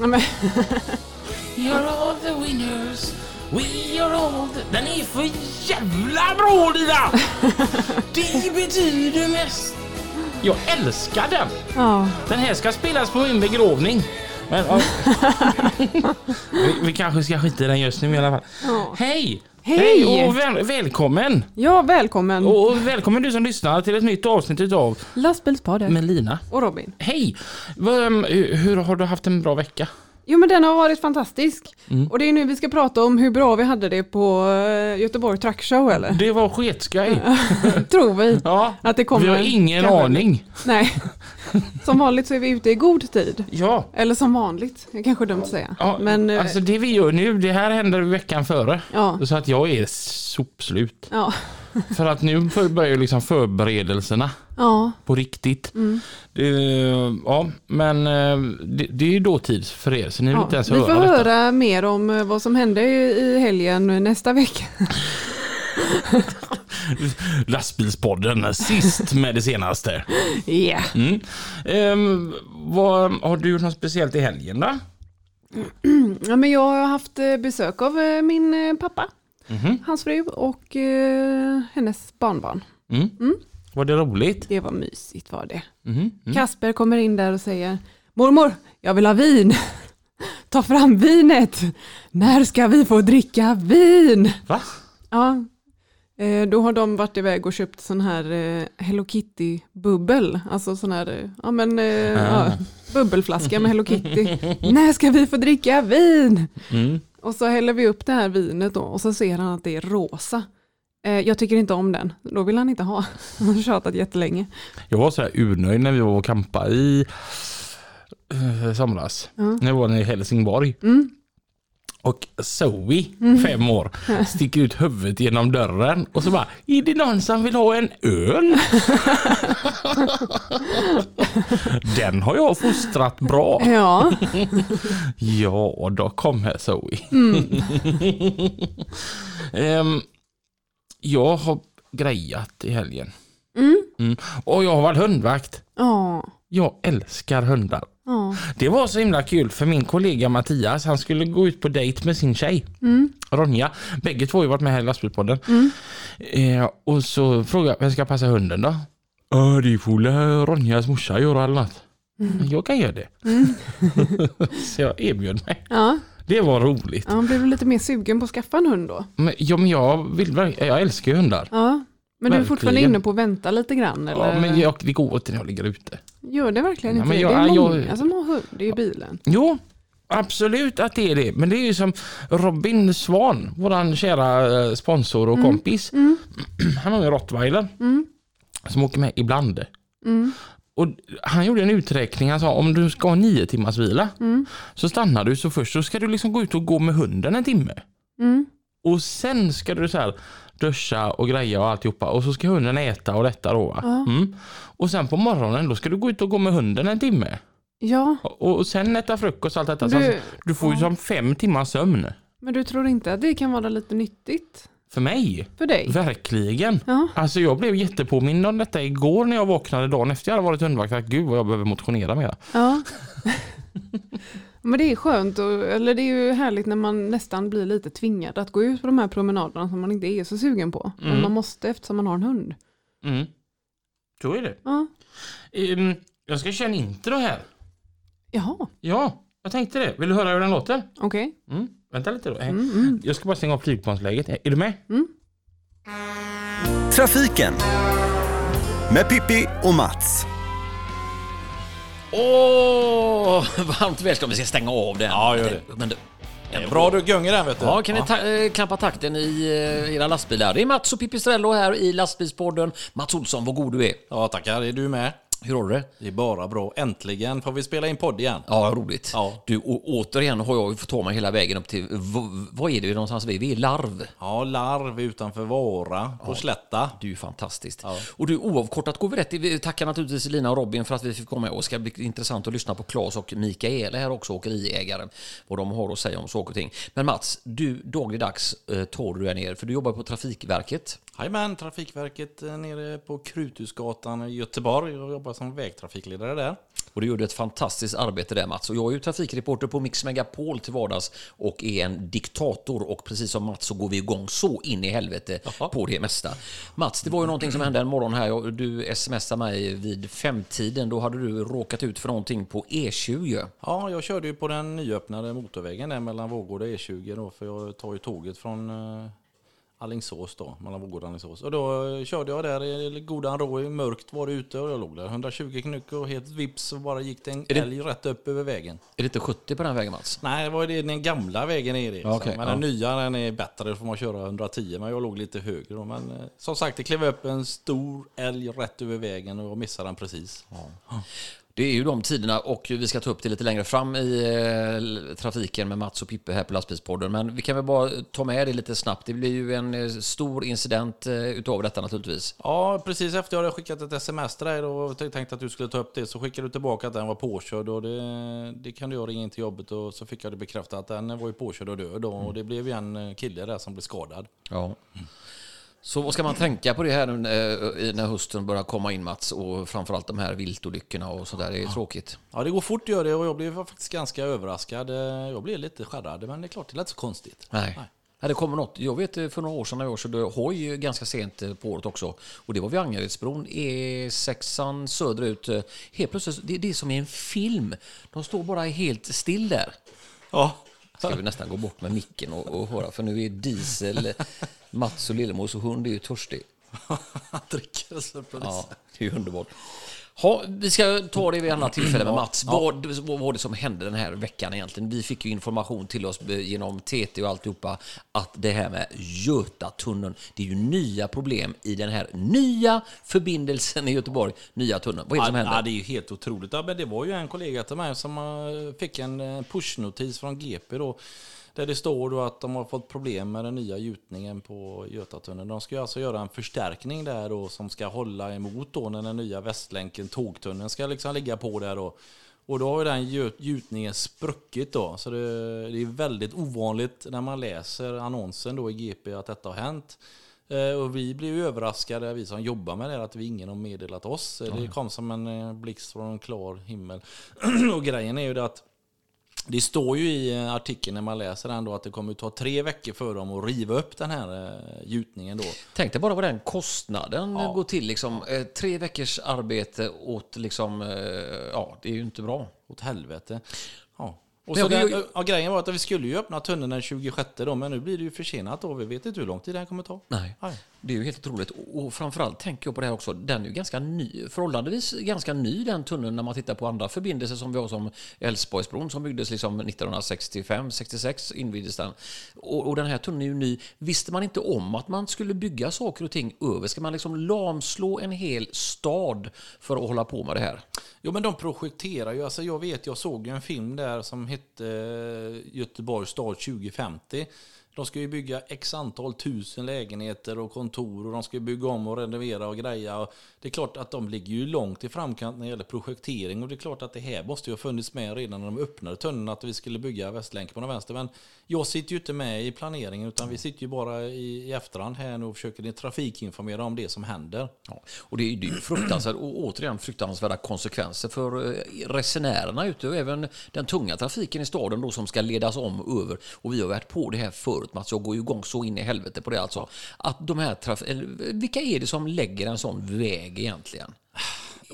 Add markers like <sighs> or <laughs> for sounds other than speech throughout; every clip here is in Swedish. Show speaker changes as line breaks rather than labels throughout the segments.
Nej, men,
You're all the winners. We are all the... Den är för jävla bra <laughs> Lina! Det betyder mest. Jag älskar den.
ja,
Den här ska spelas på min begravning. Men, <laughs> ja. vi, vi kanske ska skita i den just nu i alla fall.
Ja.
Hej!
Hej!
och väl, välkommen!
ja, välkommen
Och, och välkommen du som lyssnar till ett nytt avsnitt utav
Lastbilspodden
med Lina.
och Robin.
Hej! Vad, ehm, hur har du haft en bra vecka?
Jo men den har varit fantastisk.
Mm.
Och det är nu vi ska prata om hur bra vi hade det på eh, Göteborg Truck Show
<laughs>
eller?
Det var sketskoj.
Tror vi.
Ja.
Att det kommer
Vi har ingen
kanske-
aning. <laughs>
Nej. Som vanligt så är vi ute i god tid.
Ja.
Eller som vanligt, det är kanske är dumt att säga.
ja.
men eh,
alltså det vi gör nu, det här händer veckan före.
ja,
Så att jag är sopslut.
ja,
För att nu för- börjar ju liksom förberedelserna
ja,
på riktigt.
Mm.
Det, ja, men eh, det, det är ju dåtid för er så ni vill
ja.
inte
Vi
ens
får
höra detta.
höra mer om eh, vad som hände i i helgen nästa vecka.
<laughs> Lastbilspodden, sist med det senaste.
Ja.
Mm. Ehm, vad, har du gjort något speciellt i helgen då?
Ja, men jag har haft eh, besök av eh, min eh, pappa,
Mhm.
hans fru och eh, hennes barnbarn.
Mm. Var det roligt?
Det var mysigt var det.
Mhm.
Kasper kommer in där och säger Mormor, jag vill ha vin. Ta fram vinet. När ska vi få dricka vin?
Va?
Ja, eh, då har de varit iväg och köpt sån här eh, Hello Kitty-bubbel. Alltså sån här eh, ja, men, eh,
Ah.
ja, bubbelflaska med Hello
<laughs>
Kitty. När ska vi få dricka vin?
Mm.
Och så häller vi upp det här vinet då, och så ser han att det är rosa. Eh, jag tycker inte om den, då vill han inte ha. <laughs> Han har tjatat
<laughs>
jättelänge.
Jag var så här urnöjd när vi var och kampa i eh, somras.
Ja.
När vi var i Helsingborg.
Mm.
Och Zoe,
<laughs>
fem år, sticker ut huvudet genom dörren och så bara Är det någon som vill ha en
<laughs>
öl? Den har jag fostrat bra.
Ja,
Ja, då kom här Zoe.
Mm.
<laughs> Ehm, jag har grejat i helgen.
Mm.
Och jag har varit hundvakt.
ja,
Jag älskar hundar.
ja.
Det var så himla kul för min kollega Mattias, han skulle gå ut på dejt med sin tjej. Ronja. Bägge två har ju varit med här i lastbilspodden. Eh, och så frågade jag, vem ska passa hunden då? Äh, det får väl Ronjas morsa göra eller något. Jag kan göra det. <laughs> så jag erbjöd mig.
ja.
Det var roligt.
ja han blev lite mer sugen på att skaffa en hund då.
Men, ja, men jag, vill, verk- jag älskar ju hundar.
Ja. Men du är
Verkligen.
fortfarande inne på att vänta lite grann? Eller?
Ja, men jag, det går inte när jag ligger ute.
Gör det verkligen
Ja,
inte
men
det?
jag-
det är
ja, jag-
många som har hund i bilen.
Jo, absolut att det är det. Men det är ju som Robin Svan, våran kära eh, sponsor och kompis. <clears throat> Han har ju en rottweiler som åker med ibland. Och han gjorde en uträkning, han sa om du ska ha nio timmars vila så stannar du så först så ska du liksom gå ut och gå med hunden en timme.
Mm.
Och sen ska du så här duscha och greja och alltihopa och så ska hunden äta och detta då. va? Mm. Och sen på morgonen då ska du gå ut och gå med hunden en timme.
Ja,
Och och sen äta frukost och allt detta.
du,
Du, du får ju som fem timmars sömn.
men du tror inte att det kan vara lite nyttigt
För mig.
för dig?
Verkligen.
Ja.
Alltså jag blev jättepåmind om detta igår när jag vaknade dagen efter jag hade varit hundvakt. Att Gud vad jag behöver motionera mer.
Ja. <laughs> Men det är skönt, och, eller det är ju härligt när man nästan blir lite tvingad att gå ut på de här promenaderna som man inte är så sugen på. Men
Mm.
man måste eftersom man har en hund.
Mm. Så är det.
Ja.
Ehm, jag ska köra en intro här.
Jaha,
Ja, jag tänkte det. Vill du höra hur den låter?
okej.
Mm. Vänta lite då.
Mm, mm.
Jag ska bara stänga av flygplansläget. Är du med?
Trafiken med Pippi och Mats.
Åh, varmt välkommen. Vi ska stänga av den. Ja, gör det. Men det, Bra du gungar den vet du.
Ja, kan ni ta- eh, klappa takten i eh, era lastbilar? Det är Mats och Pipistrello här i lastbilspodden. Mats Olsson, vad god du är.
Ja, tackar. Är du med?
Hur har du det?
Det är bara bra. Äntligen får vi spela in podd igen.
Ja, roligt.
Ja.
Du, å- återigen har jag ju fått ta mig hela vägen upp till... v- Vad är det vi någonstans vi är? Vi är Larv.
Ja, Larv utanför Vara på Slätta.
Du är ju fantastiskt. Och du, oavkortat går vi rätt i- Vi tackar naturligtvis Lina och Robin för att vi fick komma. Och det ska bli intressant att lyssna på Claes och Mikael här också, åkeriägaren. Vad de har att säga om saker och ting. Men Mats, du dagligdags eh, tar du dig ner, för du jobbar på Trafikverket.
Jajamän, Trafikverket eh, nere på Kruthusgatan i Göteborg. Jag jobbar som vägtrafikledare där.
Och du gjorde ett fantastiskt arbete där Mats. Och jag är ju trafikreporter på Mix Megapol till vardags och är en diktator och precis som Mats så går vi igång så in i helvete på det mesta. Mats, det var ju någonting som hände en morgon här. Jag- Du smsade mig vid femtiden. Då hade du råkat ut för någonting på E E20.
Ja, jag körde ju på den nyöppnade motorvägen där mellan Vårgårda och E20 då, för jag tar ju tåget från eh, Alingsås då, mellan Vårgårda och Alingsås. Och då eh, körde jag där i godan rå, i mörkt var det ute och jag låg där 120 knyck och helt vips så bara gick det en
det-
älg rätt upp över vägen.
Är det inte 70 på den vägen Mats?
Nej, det var ju det- den gamla vägen är det.
Ja, okej,
men
ja.
den nya den är bättre, då får man köra 110, men jag låg lite högre då. Men eh, som sagt, det klev upp en stor älg rätt över vägen och jag missade den precis.
Det är ju de tiderna och vi ska ta upp det lite längre fram i eh, trafiken med Mats och Pippe här på lastbilspodden. Men vi kan väl bara ta med det lite snabbt. Det blir ju en eh, stor incident eh, utav detta naturligtvis.
Ja, precis efter jag hade skickat ett sms till dig då och t- tänkte att du skulle ta upp det så skickade du tillbaka att den var påkörd och det, det kan du göra ringa in till jobbet och så fick jag det bekräftat att den var ju påkörd och död då,
Mm.
och det blev ju en eh, kille där som blev skadad.
Ja. Så vad ska man tänka på det här nu när i- när hösten börjar komma in Mats och framförallt de här viltolyckorna och sådär, det är tråkigt.
Ja, det går fort gör det och jag blev faktiskt ganska överraskad. Eh, Jag blev lite skärrad men det är klart, det lät så konstigt. <laughs>
Nej. Nej, det kommer något. Jag vet eh, för några år sedan när jag körde hoj eh, ganska sent eh, på året också. Och det var vid Angeredsbron, E6 söderut. eh, Helt plötsligt, det, det är som i en film. De står bara helt still där.
Ja.
Ska vi nästan gå bort med micken och, och höra, för nu är Diesel, Mats och Lillemors och hund är ju
<laughs>
törstig.
Han dricker så precis.
Ja, det är ju underbart. Ha, vi ska ta det vid annat tillfälle med Mats. Vad, vad var det som hände den här veckan egentligen? Vi fick ju information till oss eh, genom TT och alltihopa att det här med Götatunneln, det är ju nya problem i den här nya förbindelsen i Göteborg, nya tunneln. Vad är det som
Ja, ja,
händer?
det är ju helt otroligt. Ja, men det var ju en kollega till mig som eh, fick en eh, pushnotis från GP då. Där det står då att de har fått problem med den nya gjutningen på Götatunneln. De ska ju alltså göra en förstärkning där då som ska hålla emot då när den nya Västlänken, tågtunneln, ska liksom ligga på där då. Och då har ju den gö- gjutningen spruckit då. Så det, det är väldigt ovanligt när man läser annonsen då i GP att detta har hänt. Eh, Och vi blev ju överraskade, vi som jobbar med det, här, att vi ingen har meddelat oss. Eh, Det kom som en eh, blixt från en klar himmel. <clears throat> och grejen är ju det att det står ju i eh, artikeln när man läser den då att det kommer att ta tre veckor för dem att riva upp den här eh, gjutningen då.
Tänk dig bara vad den kostnaden
Ja.
går till. Liksom, eh, tre veckors arbete åt liksom, eh, ja, det är ju inte bra.
Åt helvete. Ja. Och
Men
så
jag-
den,
jag-
ja, grejen var att vi skulle ju öppna tunneln den 26 då, men nu blir det ju försenat då. Vi vet inte hur lång tid det här kommer ta.
Nej.
Nej.
Det är ju helt otroligt. Och och framförallt tänker jag på det här också, den är ju ganska ny, förhållandevis ganska ny den tunneln när man tittar på andra förbindelser som vi har som Älvsborgsbron som byggdes liksom 1965-66 invigdes den. Och, och den här tunneln är ju ny. Visste man inte om att man skulle bygga saker och ting över? Ska man liksom lamslå en hel stad för att hålla på med det här?
Jo men de projekterar ju, alltså jag vet, jag såg ju en film där som hette eh, Göteborgs stad 2050. De ska ju bygga x antal tusen lägenheter och kontor och de ska ju bygga om och renovera och greja. Och det är klart att de ligger ju långt i framkant när det gäller projektering och det är klart att det här måste ju ha funnits med redan när de öppnade tunneln att vi skulle bygga Västlänken på den vänster. Men jag sitter ju inte med i planeringen utan vi sitter ju bara i, i efterhand här nu och försöker trafikinformera om det som händer.
Ja, och det är ju det är ju fruktansvärt och återigen fruktansvärda konsekvenser för eh, resenärerna ute och även den tunga trafiken i staden då som ska ledas om över. Och vi har varit på det här förut Mats, jag går ju igång så in i helvete på det alltså. Att de här traf- eller, vilka är det som lägger en sån väg egentligen?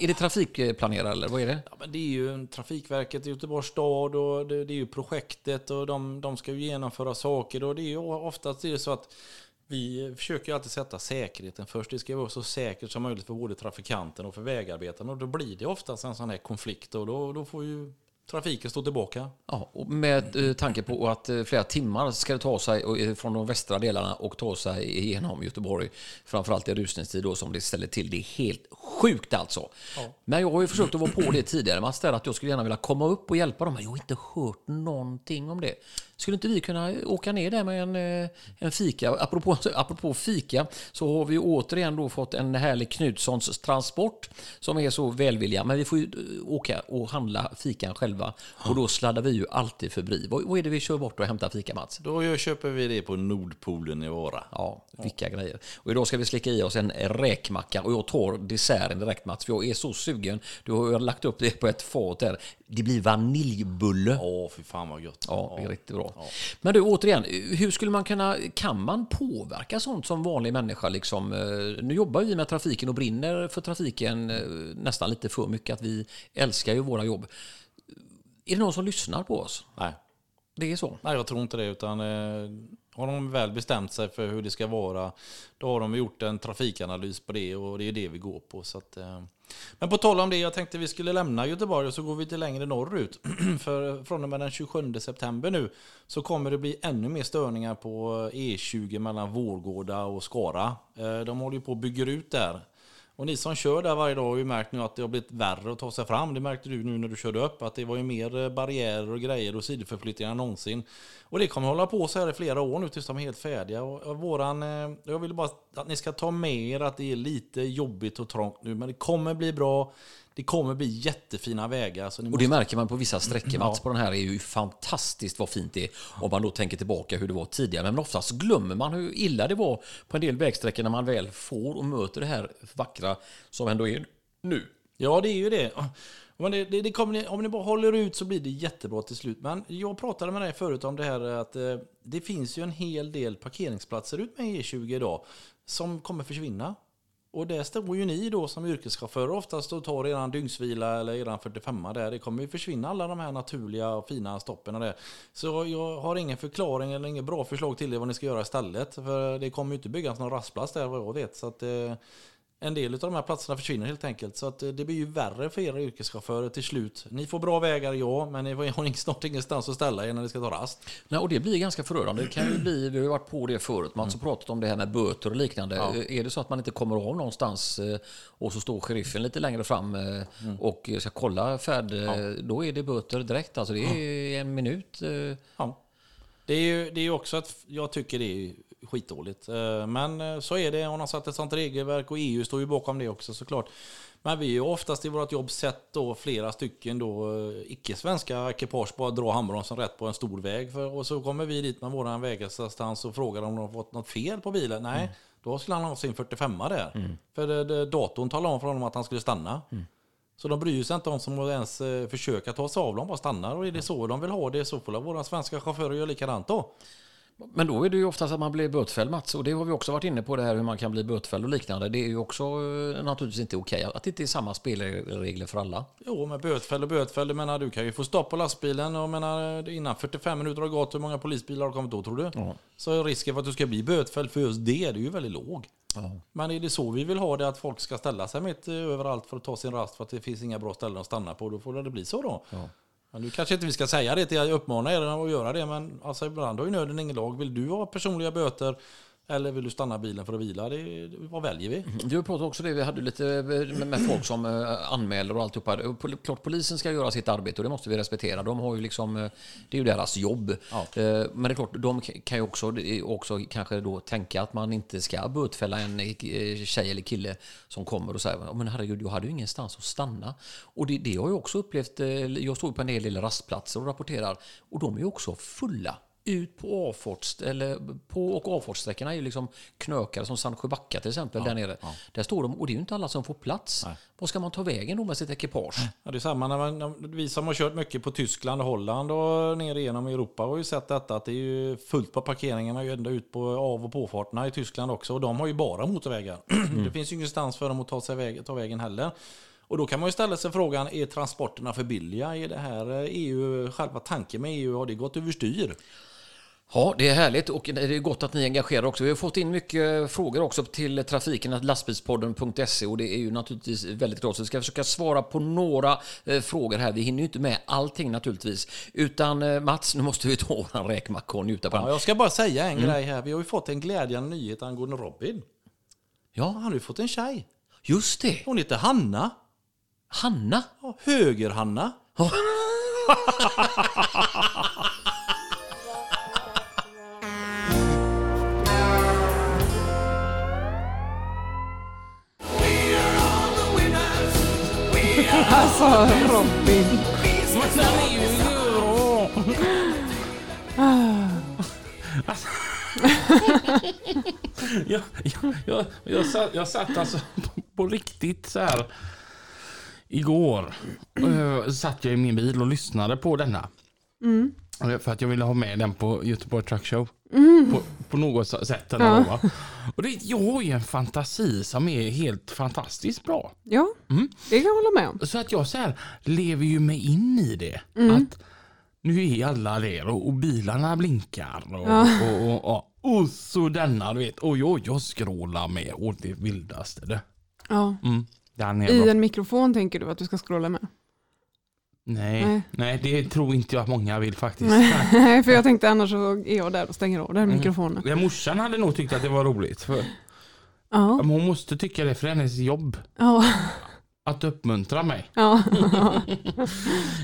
Är det trafikplanerare eller vad är det?
Ja, men det är ju Trafikverket i Göteborgs stad och det, det är ju projektet och de, de ska ju genomföra saker och det är ju oftast det är så att vi försöker ju alltid sätta säkerheten först. Det ska vara så säkert som möjligt för både trafikanten och för vägarbetaren och då blir det oftast en sån här konflikt och då, då får ju Trafiken står tillbaka.
Ja, och med eh, tanke på att eh, flera timmar ska det ta sig och, eh, från de västra delarna och ta sig igenom Göteborg. Framförallt i rusningstid då som det ställer till. Det är helt sjukt alltså. Men jag har ju försökt att vara på det tidigare Mats, där att jag skulle gärna vilja komma upp och hjälpa dem. Men jag har inte hört någonting om det. Skulle inte vi kunna åka ner där med en, eh, en fika? Apropå, <laughs> apropå fika så har vi ju återigen då fått en härlig Knutssons transport som är så välvilliga. Men vi får ju eh, åka och handla fikan själva och då sladdar vi ju alltid förbi. Vad, vad är det vi kör bort och hämtar fika Mats?
Då gör- köper vi det på Nordpolen i Vara.
Ja, vilka grejer. Och idag ska vi slicka i oss en räkmacka och jag tar desserten direkt Mats, för jag är så sugen. Du har ju lagt upp det på ett fat här. Det blir vaniljbulle.
Åh, fy fan vad gött.
Ja, det är riktigt bra. Men du, återigen, hur skulle man kunna, kan man påverka sånt som vanlig människa? Liksom, Eh, nu jobbar vi med trafiken och brinner för trafiken eh, nästan lite för mycket, att vi älskar ju våra jobb. Är det någon som lyssnar på oss?
Nej.
Det är så?
Nej, jag tror inte det. Utan, eh, har de väl bestämt sig för hur det ska vara, då har de gjort en trafikanalys på det och det är det vi går på. Så att, eh. Men på tal om det, jag tänkte vi skulle lämna Göteborg och så går vi lite längre norrut. <clears throat> för från och med den 27 september nu så kommer det bli ännu mer störningar på E20 mellan Vårgårda och Skara. Eh, de håller ju på och bygger ut där. Och ni som kör där varje dag har ju märkt nu att det har blivit värre att ta sig fram. Det märkte du nu när du körde upp. Att det var ju mer eh, barriärer och grejer och sidoförflyttningar än någonsin. Och det kommer hålla på så här i flera år nu tills de är helt färdiga. Och och våran, eh, jag vill bara att ni ska ta med er att det är lite jobbigt och trångt nu. Men det kommer bli bra. Det kommer bli jättefina vägar. Så ni
Och
måste
det märker man på vissa sträckor. Mats, på den här är ju fantastiskt vad fint det är. Om man då tänker tillbaka hur det var tidigare. Men oftast glömmer man hur illa det var på en del vägsträckor när man väl får och möter det här vackra som ändå är nu.
Ja, det är ju det. Men det, det, det kommer, ni- om ni bara håller ut så blir det jättebra till slut. Men jag pratade med dig förut om det här att eh, det finns ju en hel del parkeringsplatser ut med E20 idag som kommer försvinna. Och där står ju ni då som yrkeschaufförer oftast och tar eran dygnsvila eller eran 45 där. Det kommer ju försvinna alla de här naturliga och fina stoppen och det. Så jag har ingen förklaring eller inget bra förslag till er vad ni ska göra istället. För det kommer ju inte byggas någon rastplats där vad jag vet. Så att, eh, en del av de här platserna försvinner helt enkelt. Så att eh, det blir ju värre för era yrkeschaufförer till slut. Ni får bra vägar, ja, men ni har <laughs> ing- snart ingenstans att ställa er när ni ska ta rast.
Nej, och det blir ganska förödande. Det kan ju bli, vi har ju varit på det förut, Mats har alltså pratat om det här med böter och liknande. Eh, Är det så att man inte kommer av någonstans eh, och så står sheriffen lite längre fram eh, och ska kolla färd, eh, då är det böter direkt. Alltså det är en minut. eh,
Ja. Det är ju det är ju också att jag tycker det är skitdåligt. Eh, Men eh, så är det. Hon har satt ett sånt regelverk och EU står ju bakom det också såklart. Men vi har ju oftast i vårt jobb sett då flera stycken då eh, icke-svenska ekipage bara dra handbromsen rätt på en stor väg. För, och så kommer vi dit med våran vägassistans och frågar om de har fått något fel på bilen. Nej, då skulle han ha sin 45 där. För det, det, datorn talade om för honom att han skulle stanna. Så de bryr sig inte om som ens eh, försöker ta sig av. De bara stannar och är det så de vill ha det så får väl våra svenska chaufförer göra likadant då.
Men då är det ju oftast att man blir bötfälld Mats och det har vi också varit inne på det här hur man kan bli bötfälld och liknande. Det är ju också eh, naturligtvis inte okej att det inte är samma spelregler för alla.
Jo, men bötfäll och bötfäll. Jag menar, du kan ju få stopp på lastbilen. Jag menar, innan 45 minuter har gått, hur många polisbilar har kommit då tror du? Så risken för att du ska bli bötfälld för just det, det är ju väldigt låg. Men är det så vi vill ha det, att folk ska ställa sig mitt eh, överallt för att ta sin rast för att det finns inga bra ställen att stanna på, då får det bli så då. Men nu kanske inte vi ska säga det till jag uppmanar er att göra det, men alltså ibland har ju nöden ingen lag. Vill du ha personliga böter eller vill du stanna bilen för att vila? Det, vad väljer vi?
Du pratade också det, vi hade lite eh, med- med folk som eh, anmäler och alltihopa. Och pol- Klart polisen ska göra sitt arbete och det måste vi respektera. De har ju liksom, eh, det är ju deras jobb. Eh, Men det är klart, de k- kan ju också, det är också kanske då tänka att man inte ska bötfälla en eh, tjej eller kille som kommer och säger "Ja, men herregud, jag hade ju ingenstans att stanna. Och det, det har jag också upplevt. eh, Jag står ju på en del lilla rastplatser och rapporterar och de är ju också fulla ut på avfarts, eller på och avfartssträckorna är ju liksom knökare som Sandsjöbacka till exempel där nere. Där står de och det är ju inte alla som får plats. Var ska man ta vägen då med sitt ekipage?
Ja, det är samma när man, när- vi som har kört mycket på Tyskland och Holland och ner igenom Europa har ju sett detta att det är ju fullt på parkeringarna och ända ut på av och påfarterna i Tyskland också och de har ju bara motorvägar. <clears throat> Det finns ju ingenstans för dem att ta, sig väg, ta vägen heller. Och då kan man ju ställa sig frågan, är E transporterna för billiga? Är det här eh, EU, själva tanken med EU, har det gått överstyr?
Ja, det är härligt och det är gott att ni engagerar också. Vi har fått in mycket frågor också till trafiken att lastbilspodden.se E, och det är ju naturligtvis väldigt bra. Så vi ska försöka svara på några eh, frågor här. Vi hinner ju inte med allting naturligtvis. Utan eh, Mats, nu måste vi ta våran räkmacka och njuta på
Ja,
den.
jag ska bara säga en grej här. Vi har ju fått en glädjande nyhet angående Robin. Han
Ja,
har ju fått en tjej.
just det.
Hon heter Hanna.
Hanna.
Ja, Höger-Hanna.
Alltså Robin.
Jag, jag, jag, jag, satt, jag satt alltså på, på riktigt så här igår. eh, satt jag i min bil och lyssnade på denna. Eh, För att jag ville ha med den på Göteborg Truck Show. På, på något så- sätt. Eller vad, va? och det, jag har ju en fantasi som är helt fantastiskt bra.
Ja,
Mm.
det kan jag hålla med om.
Så att jag så här, lever ju mig in i det.
Mm.
Att nu är alla där och, och bilarna blinkar. Och, och, och, och, och, så denna du vet. Och jag, jag skrålar med och det vildaste. Det.
Ja.
Mm. Den är
I
bra.
en mikrofon tänker du att du ska scrolla
<laughs>
med?
Nej,
Nej.
nej, det tror inte jag att många vill faktiskt.
Nej, <laughs> för jag tänkte annars så är jag där och stänger av
Mm.
den mikrofonen.
Ja, Morsan hade nog tyckt att det var roligt. För,
Ja,
men hon måste tycka det för hennes jobb.
ja, <laughs>
Att uppmuntra mig.
ja.
Mm.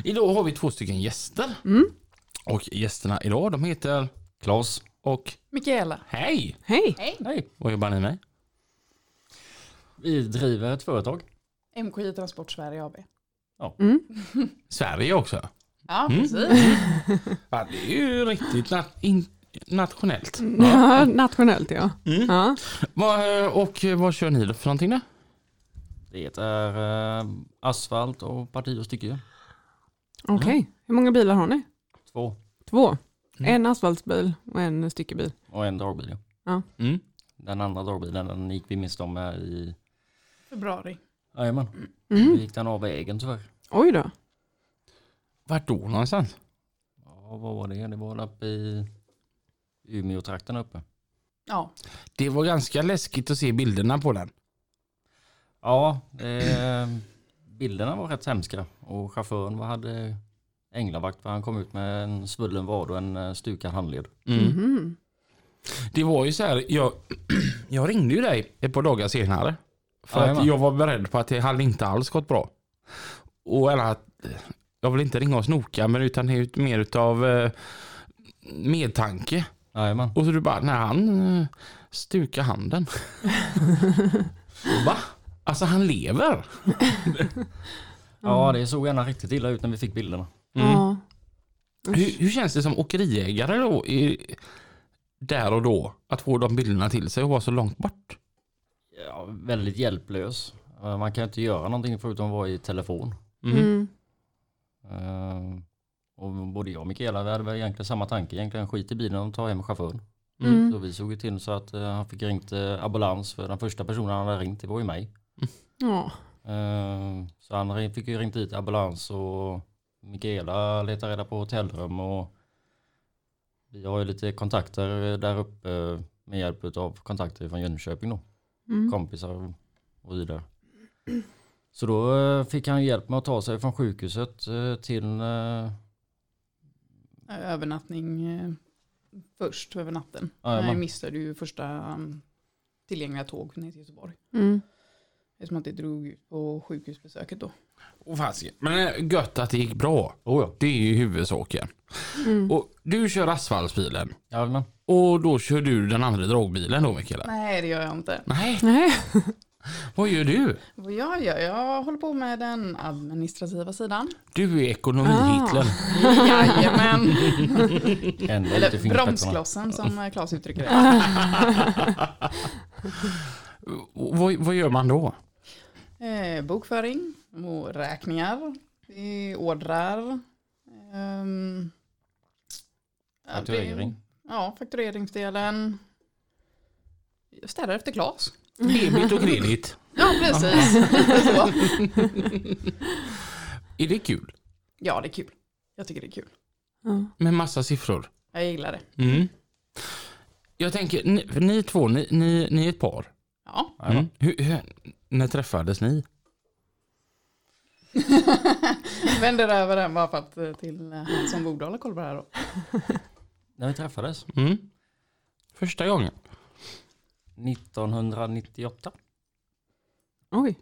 Idag har vi två stycken gäster.
Mm.
Och gästerna idag de heter Claes och
Mikaela.
Hej!
Hej,
Hej.
Vad jobbar ni med?
Vi driver ett företag.
MKI Transport Sverige AB.
Sverige också.
Ja,
Mm.
precis.
Ja, det är ju riktigt nat- in- nationellt.
ja, <laughs> nationellt ja. ja.
Vad, eh, och eh, vad kör ni då för någonting då?
Det är eh, asfalt och parti och stycke.
Okej, hur många bilar har ni?
Två.
Två. En asfaltsbil och en styckebil.
Och en dragbil. ja.
Mm.
Den andra dragbilen den gick vi miste om här i...
Februari.
Jajamän. Då
Mm.
gick den av vägen tyvärr.
Oj då.
Vart då någonstans?
Ja, vad var det? Det var väl uppe i Umeå-trakten uppe.
Ja,
Det var ganska läskigt att se bilderna på den.
Ja, eh, bilderna var rätt hemska. Och chauffören var, hade änglavakt för han kom ut med en svullen vad och en eh, stukad handled.
Mhm.
Det var ju så här, jag, <clears throat> jag ringde ju dig ett par dagar senare. För att
Jajamän.
jag var beredd på att det hade inte alls gått bra. Och eller att, jag vill inte ringa och snoka men utan det är ju mer utav eh, medtanke.
Jajamän.
Och så du bara, när han eh, stukar handen. <laughs> Va? Alltså han lever?
Ja, det såg gärna riktigt illa ut när vi fick bilderna.
Ja.
Hur, hur känns det som åkeriägare då? I, där och då? Att få de bilderna till sig och vara så långt bort?
ja, väldigt hjälplös. Eh, Man kan inte göra någonting förutom att vara i telefon.
Mm.
Eh, Och både jag och Mikaela vi hade väl egentligen samma tanke. Egentligen skit i bilen och ta hem chauffören.
Mm.
Så vi såg ju till så att eh, han fick ringt eh, ambulans för den första personen han hade ringt det var ju mig.
Ja.
Eh, Så han ring- fick ju ringt dit ambulans och Mikaela letade reda på hotellrum och vi har ju lite kontakter eh, där uppe eh, med hjälp av kontakter från Jönköping då.
Mm.
kompisar och- och vidare. Så då eh, fick han hjälp med att ta sig från sjukhuset eh, till... eh,
övernattning eh, först över natten.
Jajamän.
Jag missade ju första um, tillgängliga tåg ner till Göteborg.
Mm.
Eftersom att det drog ut på sjukhusbesöket då.
Åh, fasiken. Men eh, gött att det gick bra. Det är ju huvudsaken.
Mm.
Och du kör asfaltbilen.
Ja, men,
Och då kör du den andra dragbilen då Mikaela?
Nej, det gör jag inte.
Nej,
Nej.
vad gör du?
Vad jag gör? Jag håller på med den administrativa sidan.
Du är ekonomi-Hitler.
<laughs> Jajamän.
ändå lite
Eller
fingerspetsarna.
bromsklossen som eh, Claes uttrycker det.
<laughs> Och Vad, vad gör man då?
Eh, bokföring och räkningar. Det är ordrar. ehm, ja, det-
Fakturering.
Ja, faktureringsdelen. Jag Städar efter Claes.
Debit och kredit.
Ja, precis. <laughs> Så.
Är det kul?
Ja, det är kul. Jag tycker det är kul.
Ja.
Med massa siffror.
Jag gillar det.
Mm. Jag tänker, ni, för ni två, ni, ni, ni är ett par.
Ja. <laughs>
Jajamän.
Hur, hur, när träffades ni?
Vänder över den bara för att eh, till eh, han som borde hålla koll på det här då.
När vi träffades?
Mm. Första gången?
1998.
Oj,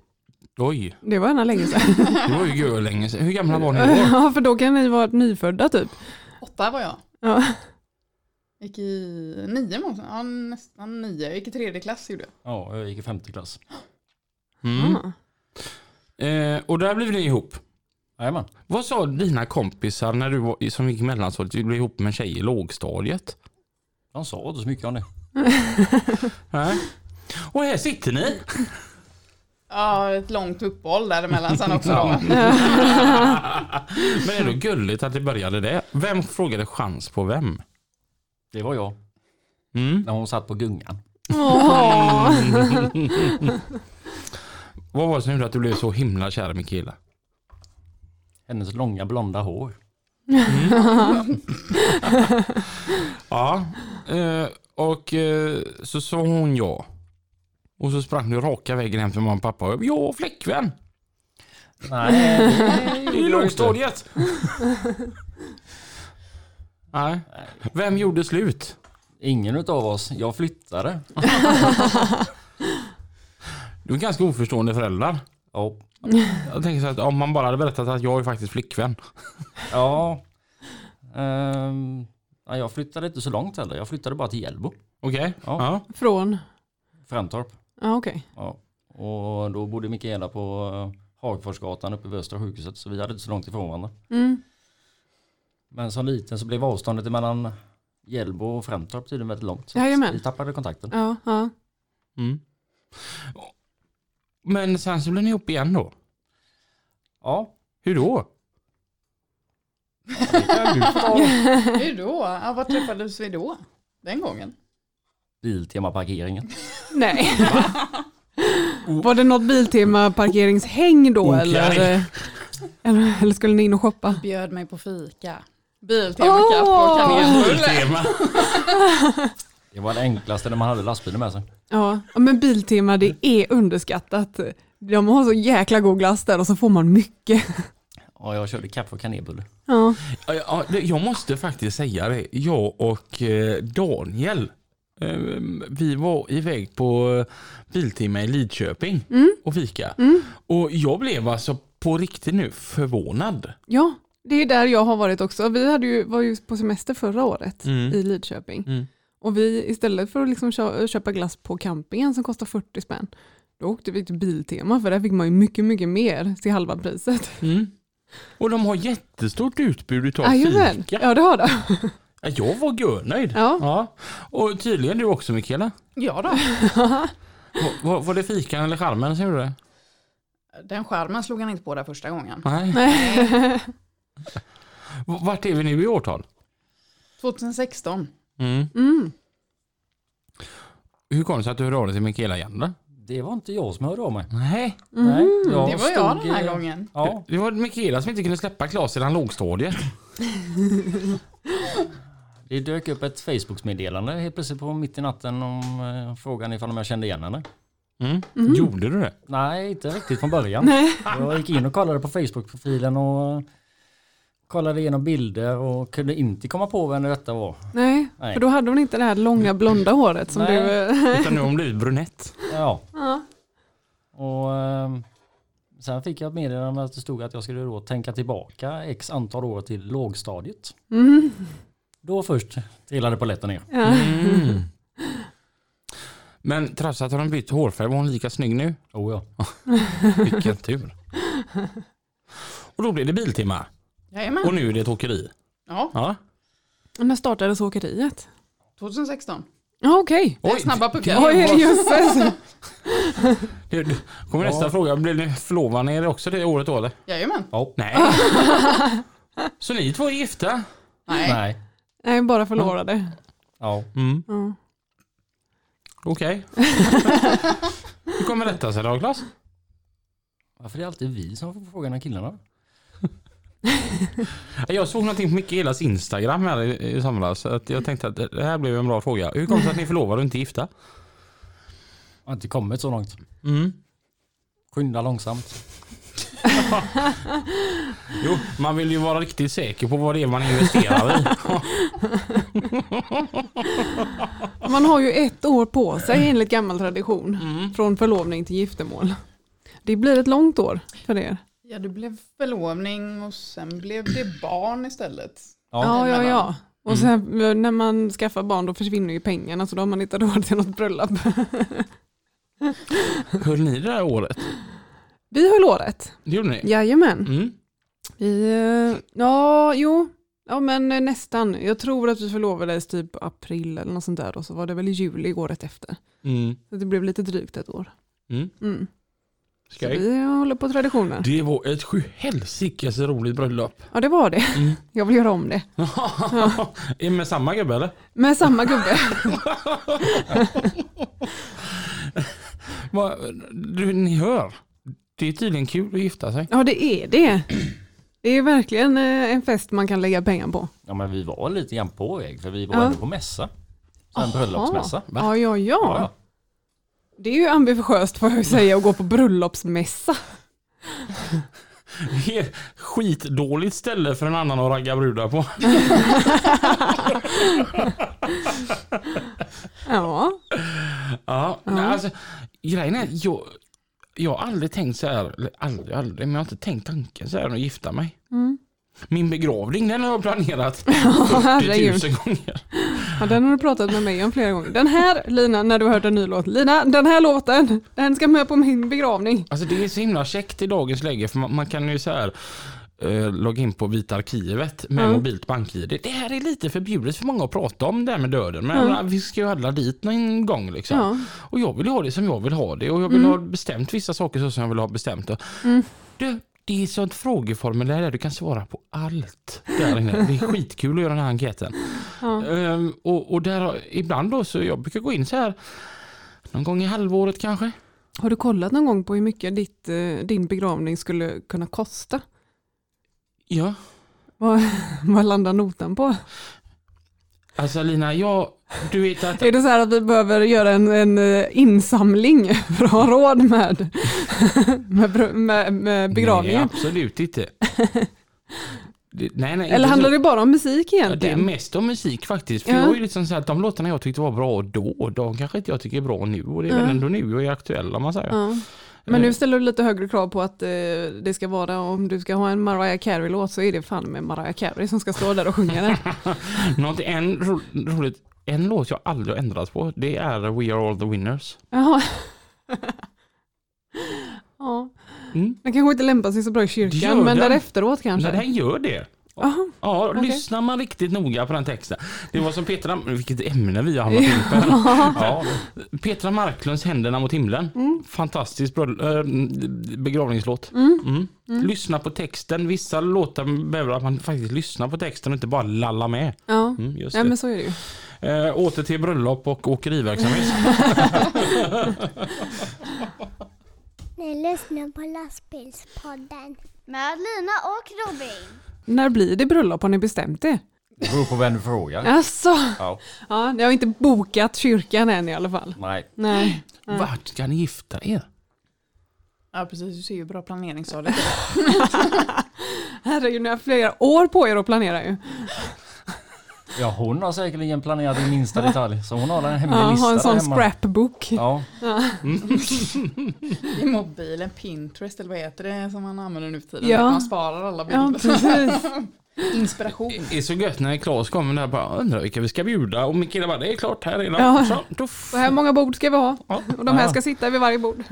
Oj,
det var ena länge sedan.
det var ju gud länge sedan. Hur gamla var ni då?
<laughs> ja, för då kan ni vara nyfödda typ.
Åtta var jag.
Ja.
Gick i nio månader, ja, nästan nio. Jag gick i tredje klass gjorde jag.
Ja, jag gick i femte klass.
Mm.
Ah.
Eh, och där blev ni ihop.
Jajamän.
Vad sa dina kompisar när du var, som gick i mellanstadiet, du blev ihop med en tjej i lågstadiet?
De sa inte så mycket om det.
Nej. Och här sitter ni.
Ja, ett långt uppehåll däremellan sen också då.
Men det är ändå gulligt att det började där. Vem frågade chans på vem?
Det var jag.
Mm.
När hon satt på gungan.
Åh.
Vad var det som gjorde att du blev så himla kär i Mikaela?
Hennes långa blonda hår.
Ja. Eh, och eh, så sa hon ja. Och så sprang du raka vägen hem till mamma och pappa. Ja, flickvän!
Nej, <laughs>
I lågstadiet! Nej. Vem gjorde slut?
ingen utav oss. Jag flyttade.
Du är ganska oförstående föräldrar.
Ja.
Jag tänker så att om man bara hade berättat att jag är faktiskt flickvän.
ja. Ehm, nej, jag flyttade inte så långt heller. Jag flyttade bara till Hjällbo.
Okej?
Ja.
Ja.
Från?
Främtorp.
Ja, okej.
Ja. Och då bodde Mikaela på eh, Hagforsgatan uppe vid Östra sjukhuset. Så vi hade inte så långt ifrån varandra.
Mm.
Men som liten så blev avståndet mellan Hjällbo och Främtorp tydligen väldigt långt. Så
Jajamän.
vi tappade kontakten.
Ja, ja.
Mm. Men sen så blev ni ihop igen då?
Ja.
Hur då?
Hur då? Ja, var träffades vi då? Den gången?
Biltema-parkeringen.
Nej. <laughs> Var det något Biltema-parkeringshäng då
Okej.
eller, eller? Eller skulle ni in och shoppa?
Bjöd mig på fika. Biltema, kaffe och
Åh!
kanelbulle.
Tema.
Det var det enklaste när man hade lastbilen med sig.
Ja, ja, men Biltema det är underskattat. De har så jäkla god glass där och så får man mycket.
Ja, jag körde kaffe och kanelbulle.
Ja.
Ja, Ja, det- jag måste faktiskt säga det. Jag och eh, Daniel, eh, vi var iväg på eh, Biltema i Lidköping och fika. Och jag blev alltså på riktigt nu förvånad.
ja, det är där jag har varit också. Vi hade ju, var ju på semester förra året i Lidköping.
Mm.
Och vi istället för att liksom kö- köpa glass på campingen som kostar 40 spänn, då åkte vi till Biltema för där fick man ju mycket, mycket mer till halva <laughs> priset.
Och de har jättestort utbud utav
Jajamän,
fika.
ja det har det.
Ja, Jag var görnöjd.
Ja.
Och tydligen du också Mikaela.
Ja då.
Var, var, var det fikan eller charmen som gjorde det?
Den skärmen slog han inte på där första gången.
Nej. V- Vart är vi nu i årtal?
2016.
Mm.
Hur kom det sig att du hörde av dig till Mikaela igen då?
Det var inte jag som hörde av mig.
Nej.
Nej, jag
Mm. Det var jag den här
eh,
gången.
Ja,
Det var Mikaela som inte kunde släppa Klas i den lågstadiet.
det dök upp ett Facebook-meddelande helt plötsligt på mitt i natten om eh, frågan ifall om jag kände igen henne.
Mm. Gjorde du det?
Nej, inte riktigt från början. jag gick in och kollade på Facebook-profilen och kollade igenom bilder och kunde inte komma på vem detta var.
Nej,
Nej.
för då hade hon inte det här långa blonda håret som
Nej.
du... eh,
Utan nu har hon blivit brunett.
Ja. Och ehm, sen fick jag ett meddelande att det stod att jag skulle då tänka tillbaka x antal år till lågstadiet. Då först trillade polletten ner.
Men trots att hon har bytt hårfärg var hon lika snygg nu.
Oh, ja.
Vilken tur. Och då blev det Biltema. Och
Jajamän.
nu är det ett åkeri.
Ja,
Ja.
När startades åkeriet?
2016.
Ja, okej.
Det är snabba puckar.
Oj, jösses.
Det- det- Kommer nästa fråga. Blev ni förlovade er också det året då eller?
Jajamän.
Nej. Så ni två är gifta?
Nej.
Nej.
Nej, bara förlorade.
Ja.
Ja.
Okej. <laughs> Hur kommer detta sig då Klas?
Varför är det alltid vi som får frågan av killarna?
Jag såg någonting på Mikaelas Instagram här i, i somras. så Att jag tänkte att det här blev en bra fråga. Hur kom det sig att ni förlovade och inte gifta?
Jag har inte kommit så långt. Skynda långsamt.
Jo, man vill ju vara riktigt säker på vad det är man investerar i.
Man har ju ett år på sig enligt gammal tradition.
Mm.
Från förlovning till giftermål. Det blir ett långt år för er.
Ja, det blev förlovning och sen blev det barn istället.
Ja, ja, ja. Och
Mm.
sen eh, när man skaffar barn då försvinner ju pengarna så då har man inte råd till något bröllop.
Höll ni det här året?
Vi höll året.
Det gjorde ni?
Jajamän.
Mm.
Vi, eh, ja, jo. Ja men eh, nästan. Jag tror att vi förlovades typ april eller något sånt där och så var det väl i juli året efter.
Mm.
Så det blev lite drygt ett år.
Mm.
Mm. Så
Skoj.
vi håller på traditionen.
Det var ett sjuhelsikes roligt bröllop.
Ja det var det.
Mm.
<laughs> Jag vill göra om det.
<laughs> Är Med samma gubbe eller?
Med samma gubbe.
Va, du, ni hör. Det är tydligen kul att gifta sig.
Ja det är det. Det är verkligen eh, en fest man kan lägga pengar på.
Ja, men vi var lite grann på väg för vi var
Ja.
ändå på mässa. Så en bröllopsmässa.
Ja, ja, ja,
Ja,
Det är ju ambitiöst får jag ju säga att gå på bröllopsmässa.
<laughs> Det är skitdåligt ställe för en annan att ragga brudar på.
<laughs>
Ja,
Ja, nej, Alltså, grejen är, jag, jag har aldrig tänkt så här, eller aldrig, aldrig, men jag har inte tänkt tanken så här att gifta mig.
Mm.
Min begravning den har jag
<laughs>
planerat 40
herregud.
000 gånger.
ja, den har du pratat med mig om flera gånger. Den här, Lina, när du har hört en ny låt. Lina, den här låten, den ska med på min begravning.
Alltså det är så himla käckt i dagens läge för man, man kan ju så här eh, logga in på Vita arkivet med mobilt bank-id. Det här är lite förbjudet för många att prata om det här med döden men jag
Mm.
menar, vi ska ju alla dit någon gång liksom.
Ja. Mm.
Och jag vill ha det som jag vill ha det och jag vill ha bestämt vissa saker så som jag vill ha bestämt det. Du, det är ett sånt frågeformulär där du kan svara på allt. Där inne. Det är skitkul att göra den här enkäten. Ehm, och, och där, har- ibland då så jag brukar gå in så här någon gång i halvåret kanske.
Har du kollat någon gång på hur mycket ditt, eh, din begravning skulle kunna kosta?
Ja.
Vad, vad landar notan på?
Alltså Lina, jag, du vet att
Är det så här att vi behöver göra en, en eh, insamling <laughs> för att ha råd med, <laughs> med, br- med, med begravningen?
Nej,
<laughs>
absolut inte. Det- nej, nej,
Eller
inte
handlar
så.
det bara om musik
Ja, Det är
egentligen?
mest om musik faktiskt. För
Ja.
jag är ju liksom så här att de låtarna jag tyckte var bra då, de kanske inte jag tycker är bra nu. Och det är väl ändå nu jag är aktuell om man säger.
Ja. Men nu ställer du lite högre krav på att eh, det ska vara, om du ska ha en Mariah Carey-låt så är det fan med Mariah Carey som ska stå där och sjunga
<laughs>
den.
Något en ro, roligt, en låt jag aldrig har ändrat på, det är We Are All The Winners.
Jaha. ja.
Mm.
Den kanske inte lämpar sig så bra i
Gör
kyrkan,
den?
men där efteråt
Nej,
kanske.
den gör det.
Jaha.
Ja,
Okej.
lyssnar man riktigt noga på den texten. Det var som Petra, vilket ämne vi har hamnat in på. <laughs> Ja. Petra Marklunds Händerna mot himlen.
Mm.
Fantastisk bröll- äh, begravningslåt. Mm. Lyssna på texten. Vissa låtar behöver att man faktiskt lyssnar på texten och inte bara lallar med.
Ja.
Mm, just
Nej,
det.
men så är det ju.
Eh, åter till bröllop och
<laughs>
åkeriverksamhet.
Ni lyssnar på lastbilspodden. Med Lina och Robin.
När blir det bröllop? Har ni bestämt det?
Det beror på vem du frågar.
Alltså.
Ja.
Ja, ni har inte bokat kyrkan än i alla fall.
Nej.
Nej.
Vart ska ni gifta er?
Ja, precis. Du ser ju bra planering sa du.
Herregud, ni har flera år på er att planera ju.
Ja, hon har säkerligen planerat i minsta detalj. Så hon har en hemlig
Ja,
lista
ha en
där
sån
hemma.
scrapbook.
Ja,
<laughs> I mobilen, Pinterest eller vad heter det som man använder nu för tiden?
Ja.
Att Man sparar alla
Ja,
bilder.
precis.
Inspiration.
Det är så gött när Claes kommer där och bara undrar vilka vi ska bjuda och Mikaela bara det är klart här redan.
Ja.
Så, då f-
Så här många bord ska vi ha.
Ja.
Och de här ska sitta vid varje bord.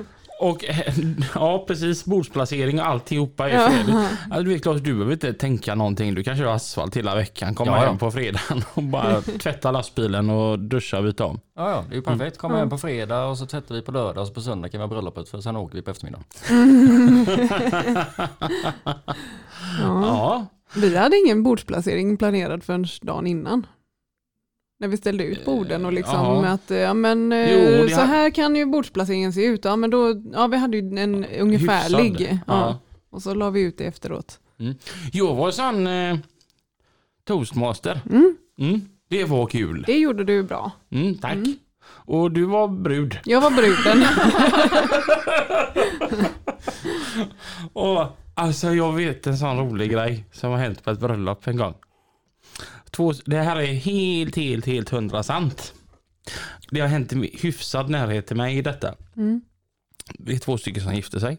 Och eh, <laughs> ja precis, bordsplacering och alltihopa är
Ja.
fel. Ja. Du vet Claes, du behöver inte tänka någonting. Du kan köra asfalt hela veckan, komma
Ja, ja.
hem på fredagen och <laughs> bara tvätta lastbilen och duscha och <laughs> byta om.
ja, ja det är ju
Mm.
perfekt. Kommer hem på fredag och så tvättar vi på lördag och så på söndag kan vi ha bröllopet för sen åker vi på eftermiddagen.
Ja,
Vi hade ingen bordsplacering planerad förrän dagen innan. När vi ställde ut borden och liksom
Eh, ja.
med att eh, ja, men, eh,
Jo, det
så
hade-
här kan ju bordsplaceringen se ut. Ja, men då, ja, vi hade ju en ungefärlig.
Hyfsad.
Ja.
Ja.
Och så la vi ut det efteråt.
Jag var sån eh, toastmaster. Mm. Det var kul.
Det gjorde du bra.
Mm, tack. Och du var brud.
Jag var <laughs> bruden.
Och, alltså jag vet en sån rolig grej som har hänt på ett bröllop en gång. Två, det här är helt, helt, helt hundra sant. Det har hänt i mi- hyfsad närhet till mig i detta.
Mm.
Det är två stycken som gifte sig.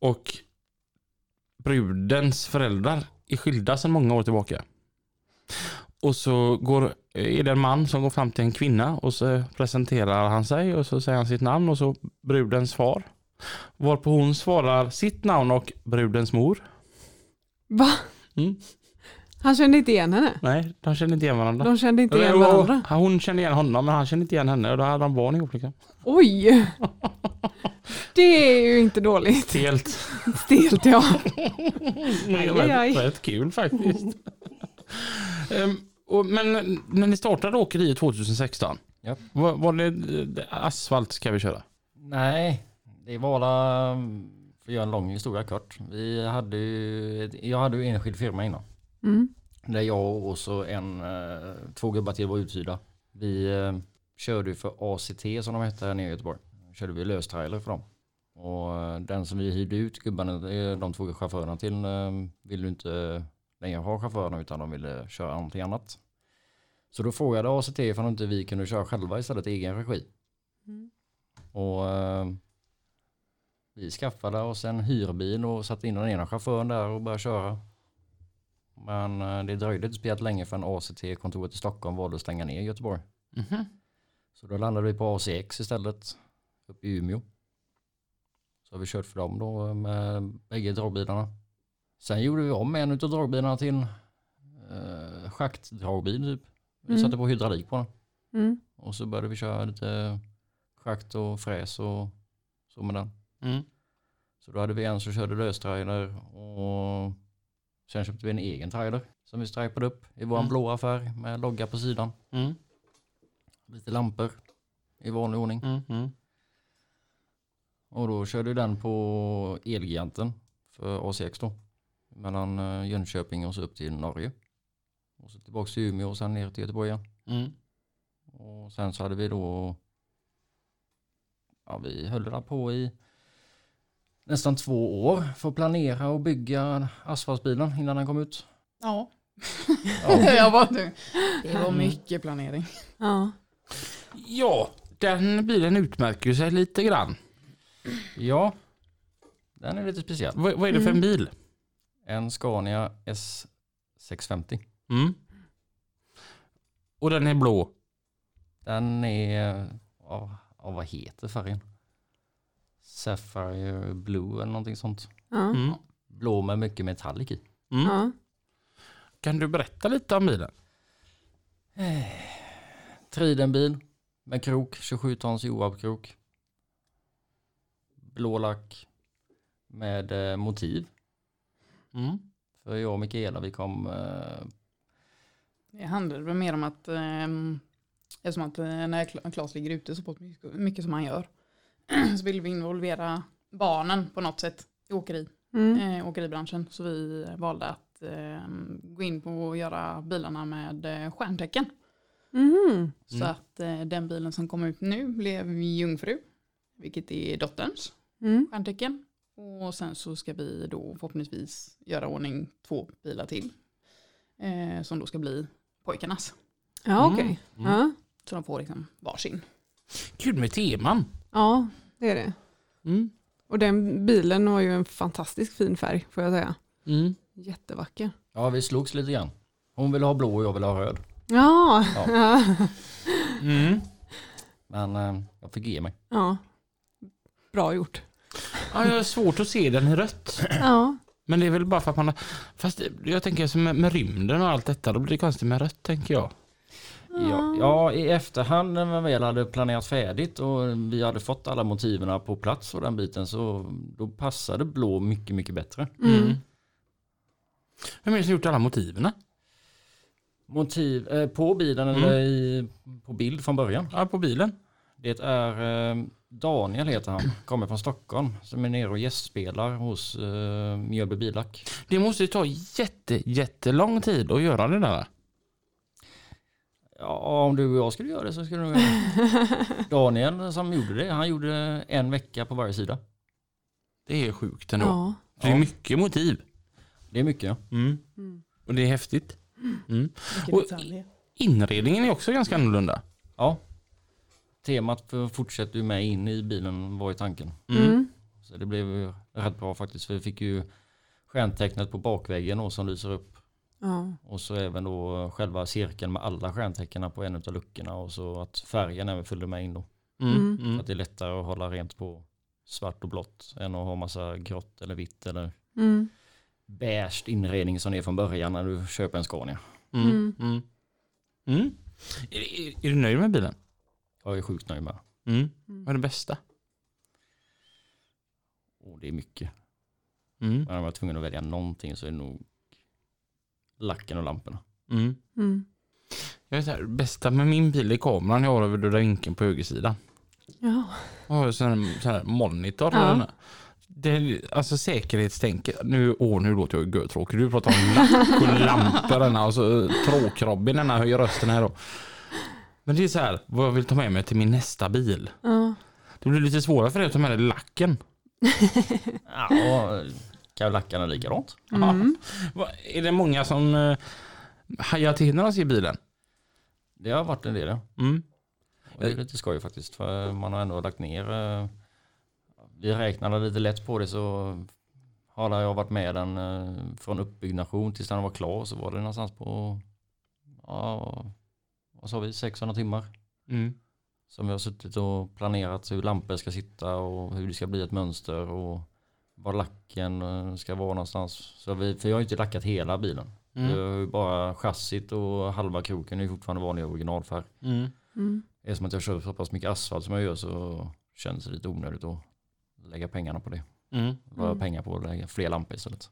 Och brudens föräldrar är skilda sedan många år tillbaka. Och så går, är det en man som går fram till en kvinna och så presenterar han sig och så säger han sitt namn och så brudens far. Varpå hon svarar sitt namn och brudens mor.
Va?
Mm.
Han kände inte igen henne.
Nej, de kände inte igen varandra.
De kände inte igen
Eller, och-
varandra.
Hon kände igen honom men han kände inte igen henne och då hade de barn ihop. Liksom.
Oj! Det är ju inte dåligt.
Helt.
Stelt ja.
Det
Aj,
var
aj.
rätt kul <laughs> faktiskt. Ehm, och, men när ni startade åkeriet 2016,
Ja.
var, var det eh, asfalt ska vi köra?
Nej, det var alla, för att göra en lång historia kort. Vi hade ju, ett- jag hade ju enskild firma innan.
Mm.
Där jag och så en, eh, två gubbar till var uthyrda. Vi eh, körde ju för ACT som de hette här nere i Göteborg. Körde vi löstrailer för dem. Och eh, den som vi hyrde ut gubbarna, eh, de två chaufförerna till, eh, ville inte längre ha chaufförerna utan de ville köra någonting annat. Så då frågade ACT ifall inte vi kunde köra själva istället i egen regi.
Mm.
Och eh, vi skaffade oss en hyrbil och satte in den ena chauffören där och började köra. Men eh, det dröjde inte speciellt länge förrän ACT-kontoret i Stockholm valde att stänga ner Göteborg.
Mhm.
Så då landade vi på ACX istället, uppe i Umeå. Så har vi kört för dem då eh, med bägge dragbilarna. Sen gjorde vi om en av dragbilarna till eh, schaktdragbil typ. Vi
Mm.
satte på hydraulik på den.
Mm.
Och så började vi köra lite schakt och fräs och så med den.
Mm.
Så då hade vi en som körde löstrailer och sen köpte vi en egen trailer som vi stripade upp i vår
Mm.
blåa färg med logga på sidan.
Mm,
Lite lampor i vanlig ordning.
mm, mm.
Och då körde vi den på Elgiganten för ACX då. Mellan eh, Jönköping och så upp till Norge. Och så tillbaka till Umeå och sen ner till Göteborg igen.
Mm.
Och sen så hade vi då, ja vi höll där på i nästan två år för att planera och bygga asfaltbilen innan den kom ut.
Ja.
Ja.
<laughs> jag bara, det var mycket planering.
Ja.
Ja, den bilen utmärker ju sig lite grann.
ja, den är lite speciell.
Vad, vad är det för
Mm.
en bil?
En Scania S650.
Mm. Och den är blå.
Den är, ja, ja, vad heter färgen? Sapphire Blue eller någonting sånt.
Ja.
Mm.
Blå med mycket metallic i. <sighs>
Mm.
Ja.
Kan du berätta lite om bilen?
Tridenbil med krok, 27 tons Joab-krok. Blå lack med eh, motiv.
Mm.
För jag och Mikaela vi kom, eh,
Det handlade väl mer om att, ehm, eftersom att eh, när Kla- Claes ligger ute så pass mycket- mycket som han gör, <clears throat> så vill vi involvera barnen på något sätt i åkeri,
Mm.
eh, åkeribranschen. Så vi valde att ehm, gå in på att göra bilarna med eh, stjärntecken.
Mhm.
Så
Mm.
att eh, den bilen som kom ut nu blev Jungfru, vilket är dotterns
Mm.
stjärntecken. Och sen så ska vi då förhoppningsvis göra ordning två bilar till. Eh, som då ska bli pojkarnas.
Ja, okej.
Mm.
Ja.
Så de får liksom varsin.
Kul med teman.
ja, det är det.
Mm.
Och den bilen var ju en fantastiskt fin färg får jag säga.
Mm.
Jättevacker.
ja vi slogs lite grann. Hon ville ha blå och jag ville ha röd.
Ja, <laughs> ja.
Mm.
Men eh, jag fick ge mig.
bra gjort.
Ja, jag har svårt att se den i rött.
Ja,
Men det är väl bara för att man har... Fast jag tänker som med, med rymden och allt detta, då blir det konstigt med rött tänker jag.
Ja, ja, i efterhand när man väl hade planerat färdigt och vi hade fått alla motiverna på plats och den biten så då passade blå mycket, mycket bättre.
Vem är det som gjort alla motiven?
Motiv eh, på bilen eller i, på bild från början.
Ja, på bilen.
Det är eh, Daniel heter han, kommer från Stockholm, som är nere och gästspelar hos eh, Mjölby Bilack.
Det måste ju ta jätte, jättelång tid att göra det där.
Ja, om du och jag skulle göra det så skulle du Daniel som gjorde det, han gjorde en vecka på varje sida.
Det är sjukt ändå.
Ja.
För Det är mycket motiv.
Det är mycket.
Mm.
Mm.
Och det är häftigt. Mm.
Vilken detalj.
Inredningen är också ganska annorlunda.
Ja. Temat för- fortsätter ju med in i bilen var ju tanken.
Mm.
Så det blev ju rätt bra faktiskt. För vi fick ju stjärntecknet på bakväggen då, som lyser upp.
Ja.
Och så även då själva cirkeln med alla stjärntecknen på en av luckorna. Och så att färgen även följde med in då.
Mm.
Mm.
Mm.
Att det är lättare att hålla rent på svart och blått än att ha massa grått eller vitt eller
Mm.
beige inredning som det är från början när du köper en Scania.
Mm. Mm. Mm. Är, är, är du nöjd med bilen?
Jag är sjukt nöjd med. det.
Mm. Vad är det bästa?
Och det är mycket.
Mm.
Men om jag var tvungen att välja någonting så är det nog lacken och lamporna.
Mm.
Mm.
Jag är så här, bästa med min bil är kameran jag har över döda vinkeln på högersidan.
Ja.
Jag har en sån här, sån här monitor.
Ja.
Den här. Det, är- alltså säkerhetstänket. Nu, åh, nu låter jag görtråkig. Du pratar
<laughs>
om lack och lampor. Den här, och så tråkrobben den här höjer rösten här då. Men det är så här, vad jag vill ta med mig till min nästa bil.
Ja.
Det blir lite svårare för dig att ta med dig lacken.
Ja, kavlackarna är likadant.
Mm.
Va- Är det många som eh, hajar till när de ser bilen?
Det har varit en del. ja.
Mm.
Och det är lite skoj faktiskt. För man har ändå lagt ner. eh, Vi räknade lite lätt på det så har jag varit med den eh, från uppbyggnation tills den var klar så var det någonstans på ja, vad sa vi, 600 timmar.
Mm.
Som vi har suttit och planerat hur lampor ska sitta och hur det ska bli ett mönster och var lacken eh, ska vara någonstans. Så vi, för jag har ju inte lackat hela bilen.
Mm.
Jag har ju bara chassit och halva kroken är ju fortfarande vanlig originalfärg.
Mm.
Mm.
Eftersom att jag kör så pass mycket asfalt som jag gör så känns det lite onödigt att lägga pengarna på det.
Mm.
Vad har jag pengar på att lägga fler lampor istället?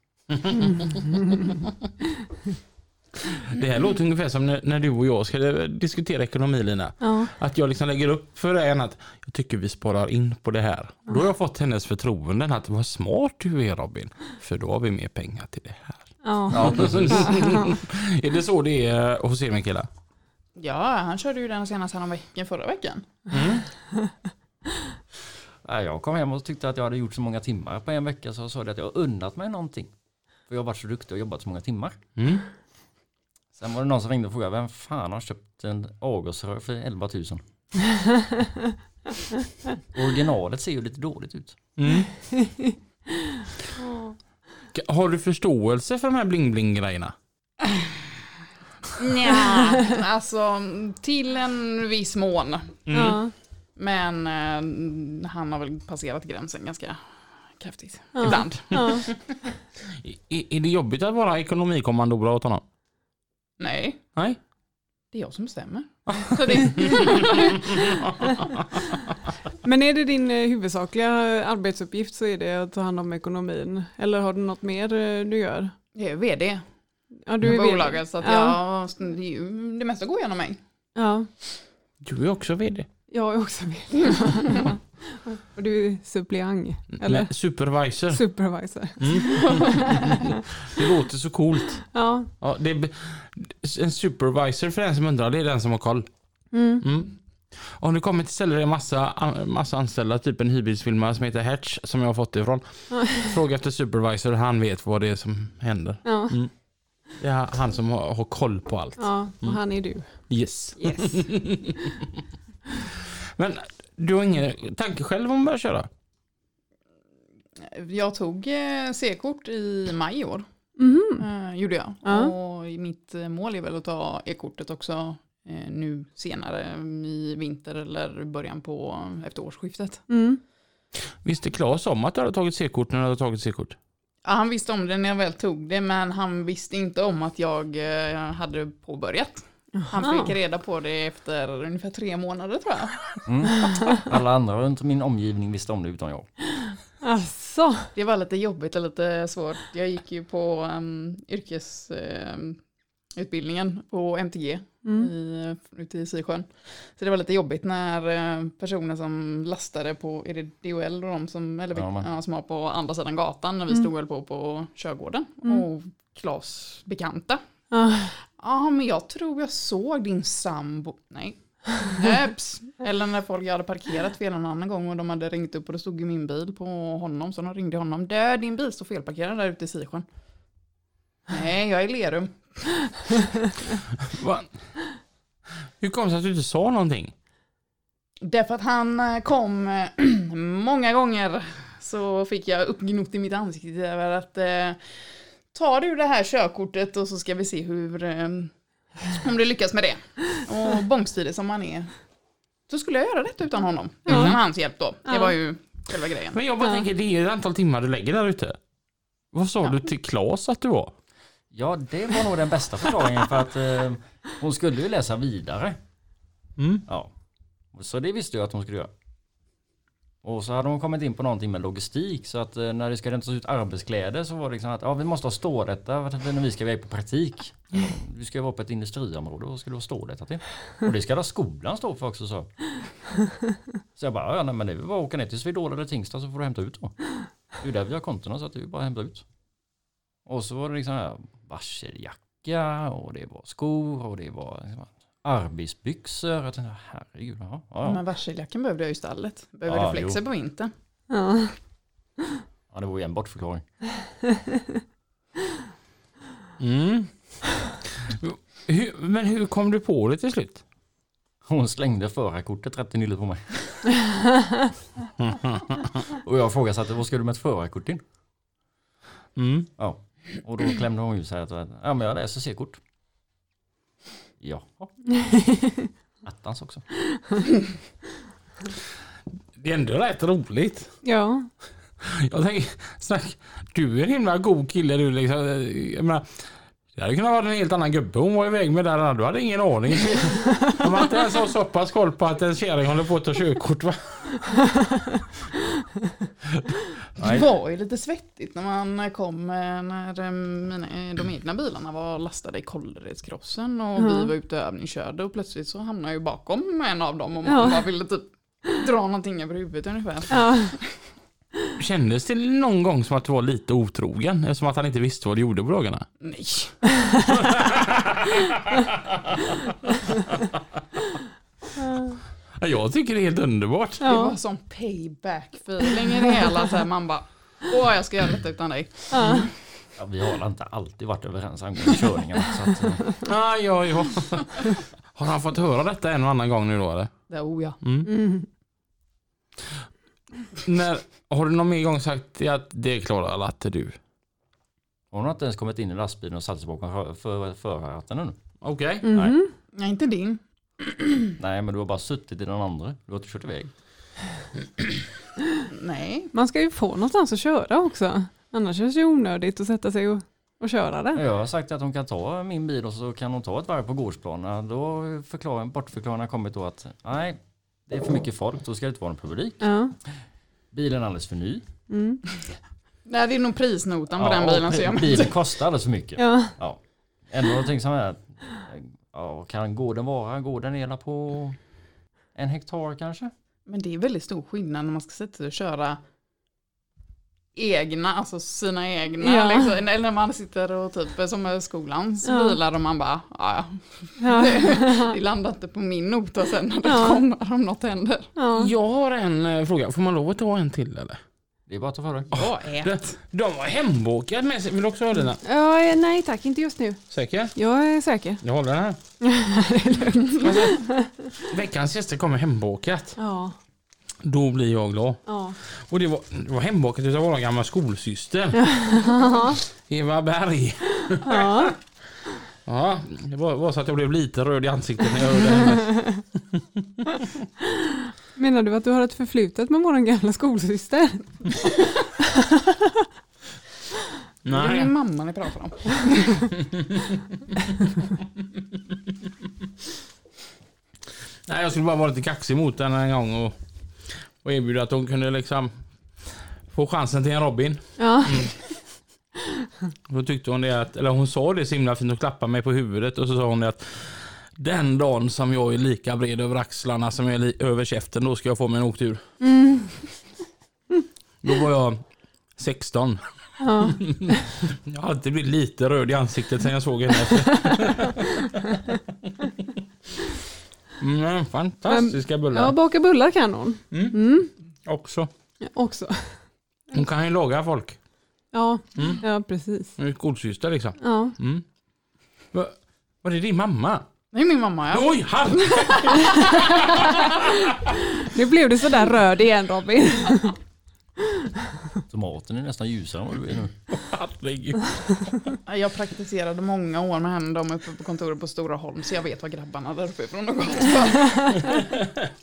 Det här låter ungefär som när, när du och jag ska eh, diskutera ekonomi Lina.
Ja.
Att jag liksom lägger upp för en att jag tycker vi sparar in på det här. Och Då har jag fått hennes förtroenden att vad smart du är Robin. För då har vi mer pengar till det här.
Ja.
Ja, precis. <laughs> är det så det är hos er Mikaela?
Ja, han körde ju den senast häromveckan, förra veckan.
Nej, Jag kom hem och tyckte att jag hade gjort så många timmar på en vecka så jag sa det att jag har unnat mig någonting. För jag har varit så duktig och jobbat så många timmar.
Mm.
Sen var det någon som ringde och frågade vem fan har köpt en avgasrör för 11 000? Originalet ser ju lite dåligt ut.
Mm. Har du förståelse för de här bling-bling grejerna?
Nja, <laughs> alltså till en viss mån.
Ja.
Men eh, han har väl passerat gränsen ganska kraftigt.
Ja.
Ibland.
Ja.
I- i- Är det jobbigt att vara ekonomikommandobra åt honom?
Nej,
Nej?
det är jag som bestämmer. Så det,
Men är det din eh, huvudsakliga arbetsuppgift så är det att ta hand om ekonomin. Eller har du något mer eh, du gör?
jag är vd
Ja,
på
du är vd.
bolaget så att
ja.
jag, det mesta går genom mig.
Ja,
Du är också vd.
jag är också vd. Och du är suppleant,
Mm.
eller
Nej, supervisor. Mm.
supervisor.
<laughs> Det låter så coolt.
Ja,
Ja, det är, en supervisor för den som undrar, det är den som har koll.
mm.
Mm. Om du kommer till ställe där det är massa, massa anställda, typ en hyrbilsfilmare som heter Hertz som jag har fått det ifrån. Fråga efter supervisor, han vet vad det är som händer.
ja.
Det är han som har, har koll på allt.
ja och han är du.
Yes.
Yes.
Men du har ingen tanke själv om att börja köra?
Jag tog eh, C-kort i maj i år.
Mhm.
Eh, gjorde jag.
Ja.
Och mitt eh, mål är väl att ta e-kortet också eh, nu senare mm, i vinter eller början på efter årsskiftet.
Mm.
Visste Claes om att du hade tagit C-kort när du hade tagit C-kort?
Ja, han visste om det när jag väl tog det men han visste inte om att jag eh, hade påbörjat. Han fick reda på det efter ungefär tre månader tror jag.
Mm. Alla andra runt min omgivning visste om det utan jag.
Alltså.
Det var lite jobbigt och lite svårt. Jag gick ju på um, yrkes... ehm, utbildningen på MTG
Mm.
i, ute i Sysjön. Så det var lite jobbigt när eh, personer som lastade på, är det DHL och de som, eller,
Ja,
ja,
men.
som var på andra sidan gatan när vi
Mm.
stod väl på på körgården
Mm.
och Klas bekanta.
Ah,
Ja, men jag tror jag såg din sambo. Nej. Äps. Eller när folk hade parkerat fel en annan gång och de hade ringt upp och det stod ju min bil på honom. Så de ringde honom. Där, din bil står felparkerad där ute i Sisjön. Nej, jag är i Lerum.
Va? Hur kom det sig att du inte sa någonting?
Därför att han eh, kom eh, <clears throat> många gånger så fick jag uppgnott i mitt ansikte över att eh, tar du det här körkortet och så ska vi se hur eh, om du lyckas med det. Och bångstyrig som han är så skulle jag göra detta utan honom. Utan hans hjälp då. Det
Ja.
var ju själva grejen.
Men jag bara
Ja.
tänker, det är ju ett antal timmar du lägger där ute. Vad sa du till Claes att du var?
Ja, det var nog den bästa förklaringen för att eh, hon skulle ju läsa vidare.
Mm.
Ja. Så det visste jag att hon skulle göra. Och så hade hon kommit in på någonting med logistik så att eh, när det ska rentas ut arbetskläder så var det liksom att ja, vi måste ha stårätta för att när vi ska iväg på praktik. Vi ska ju vara på ett industriområde och skulle ha stårätta till. Och det ska då skolan stå för också så. Så jag bara, ja nej, men det är väl bara att åka ner till Swedol eller Tingstad så får du hämta ut då. Det är ju där vi har kontona så att det är ju bara att hämta ut. Och så var det liksom här varseljacka och det var skor och det var liksom arbetsbyxor. Jag tänkte, herregud, ja, ja, ja.
Men varseljacken behövde jag ju i stallet. Behöver
Ja,
reflexer på vintern.
ja.
ja, det var ju en bortförklaring.
Mm. Hur, men hur kom du på det till slut?
Hon slängde förarkortet rätt i nyllet på mig. och jag frågade så att, vad ska du med ett förarkort till?
Mm.
Ja. Och då klämde hon ju så här att, ja men jag läser C-kort. Ja. Attans också.
Det är ändå rätt roligt.
ja.
Jag tänker, snack, du är en himla god kille du liksom. Jag menar, det hade kunnat vara en helt annan gubbe hon var iväg med där. Du hade ingen aning. Om man inte ens har så pass koll på att en kärring håller på att ta körkort va?
Det var ju lite svettigt när man kom eh, när eh, mina, eh, de egna bilarna var lastade i Kålleredskrossen och
Ja.
vi var ute och övningskörde och plötsligt så hamnade jag ju bakom en av dem och man
Ja.
bara ville typ dra någonting över huvudet ungefär.
ja.
Kändes det någon gång som att du var lite otrogen? Eftersom att han inte visste vad du gjorde på dagarna?
Nej.
Ja, Jag tycker det är helt underbart.
Det var
ja.
sån payback feeling i det hela. Så här, man bara Åh, jag ska göra detta utan dig.
ja.
Ja, vi har inte alltid varit överens angående körningarna. Så att, eh,
Aj, aj, aj. <laughs> Har han fått höra detta en och annan gång nu då eller?
Det, oh ja.
Mm.
När, har du någon mer gång sagt att det klarar alla att det är du?
hon har inte ens kommit in i lastbilen och satt sig bakom för- för- förarratten ännu.
Okej.
Mhm.
Nej, inte din.
Nej men du har bara suttit i den andra. Du har inte kört iväg.
Nej.
Man ska ju få någonstans att köra också. Annars känns det ju onödigt att sätta sig och, och köra där.
Jag har sagt att hon kan ta min bil och så kan hon ta ett varv på gårdsplanen. Då förklarar, bortförklaringen har kommit då att nej, det är för mycket folk. Då ska det inte vara någon publik.
Ja.
Bilen är alldeles för ny.
Mm.
Nej, det är nog prisnotan på
Ja,
den
och
bilen. Så jag
bilen kostar alldeles för mycket.
Ja.
Ja. Ändå har jag tänkt så här. Ja, kan gården vara? Gården delar på en hektar kanske?
Men det är väldigt stor skillnad när man ska sätta sig och köra egna, alltså sina egna.
Ja.
Liksom. Eller när man sitter och typ som är skolans
Ja.
bilar och man bara, ja
Ja. <laughs>
ja, <laughs> det landar inte på min nota sen när det
Ja.
kommer om något händer.
Ja.
Jag har en eh, fråga. Får man lov att ta en till eller?
Det är bara att ta för dig.
Jag är
De, de har hembokat med sig. Vill du också ha dina?
ja, eh, nej tack, inte just nu.
Säker?
Jag är säker.
Jag håller den här. alltså, veckans gäster kommer hembokat.
Ja,
Då blir jag glad.
ja.
Och det var, det var hembokat utav vår gamla skolsyster. Eva Berg.
ja.
<laughs> Ja, det var, var så att jag blev lite röd i ansiktet när jag hörde henne.
Menar du att du har ett förflutet med vår gamla skolsyster?
Det är min
Nej.
mamma ni pratar om.
Nej, jag skulle bara vara lite kaxig mot henne en gång och, och erbjuda att hon kunde liksom få chansen till en Robin.
Ja.
Då tyckte hon det att, eller hon sa det så himla fint och klappade mig på huvudet och så sa hon det att den dagen som jag är lika bred över axlarna som jag är li- över käften då ska jag få mig en åktur. Då var jag 16.
Ja.
<laughs> Jag har alltid blivit lite röd i ansiktet sen jag såg henne. Mm, fantastiska
ja,
bullar
baka bullar kan hon
också.
också.
Hon kan ju laga folk.
Ja, ja precis.
Hon är ju godsyster liksom.
Ja.
Mm. Va, var det din mamma?
Det är min mamma ja.
Oj, han!
Nu blev du sådär röd igen Robin.
Tomaten är nästan ljusare än vad du är nu.
Herregud.
Ja, Jag praktiserade många år med henne, de uppe på kontoret på Stora Holm, så jag vet vad grabbarna där uppe ifrån har gått.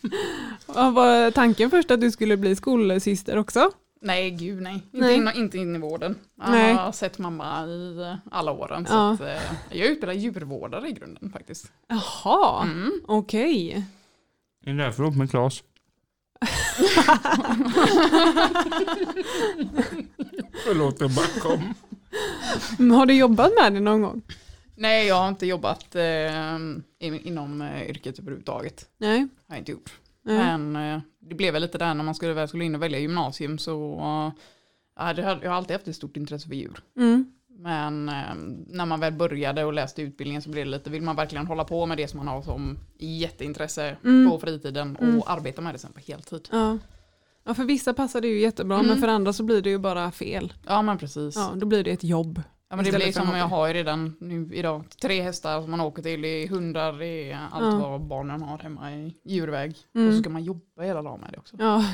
Ja, var tanken först att du skulle bli skolsyster också?
Nej, gud nej.
Nej.
Inte, in, inte in i vården. Jag
Nej.
har sett mamma i eh, alla åren. Så
Ja.
att, eh, jag är utbildad djurvårdare i grunden faktiskt. Mm.
Jaha, okej. <laughs>
Är du därför ihop med Claes? Förlåt, jag bara kom.
Men Mm, Har du jobbat med det någon gång?
Nej, jag har inte jobbat eh, in, inom eh, yrket överhuvudtaget.
Nej.
har jag inte gjort.
Nej.
Men eh, det blev väl lite där när man skulle, väl skulle in och välja gymnasium så eh, det hade, jag har alltid haft ett stort intresse för djur.
Mm.
Men eh, när man väl började och läste utbildningen så blev det lite, vill man verkligen hålla på med det som man har som jätteintresse
Mm.
på fritiden och arbeta med det sen på heltid?
Ja. ja, för vissa passar det ju jättebra men för andra så blir det ju bara fel.
Ja men precis.
Ja,
Ja.
då blir det ett jobb.
men det
Istället
blir
för
som
hobby.
jag har ju redan nu idag, tre hästar som man åker till, det är hundar, det är allt
Ja.
vad barnen har hemma i djurväg. Och så
Mm.
ska man jobba hela dagen med det också.
Ja.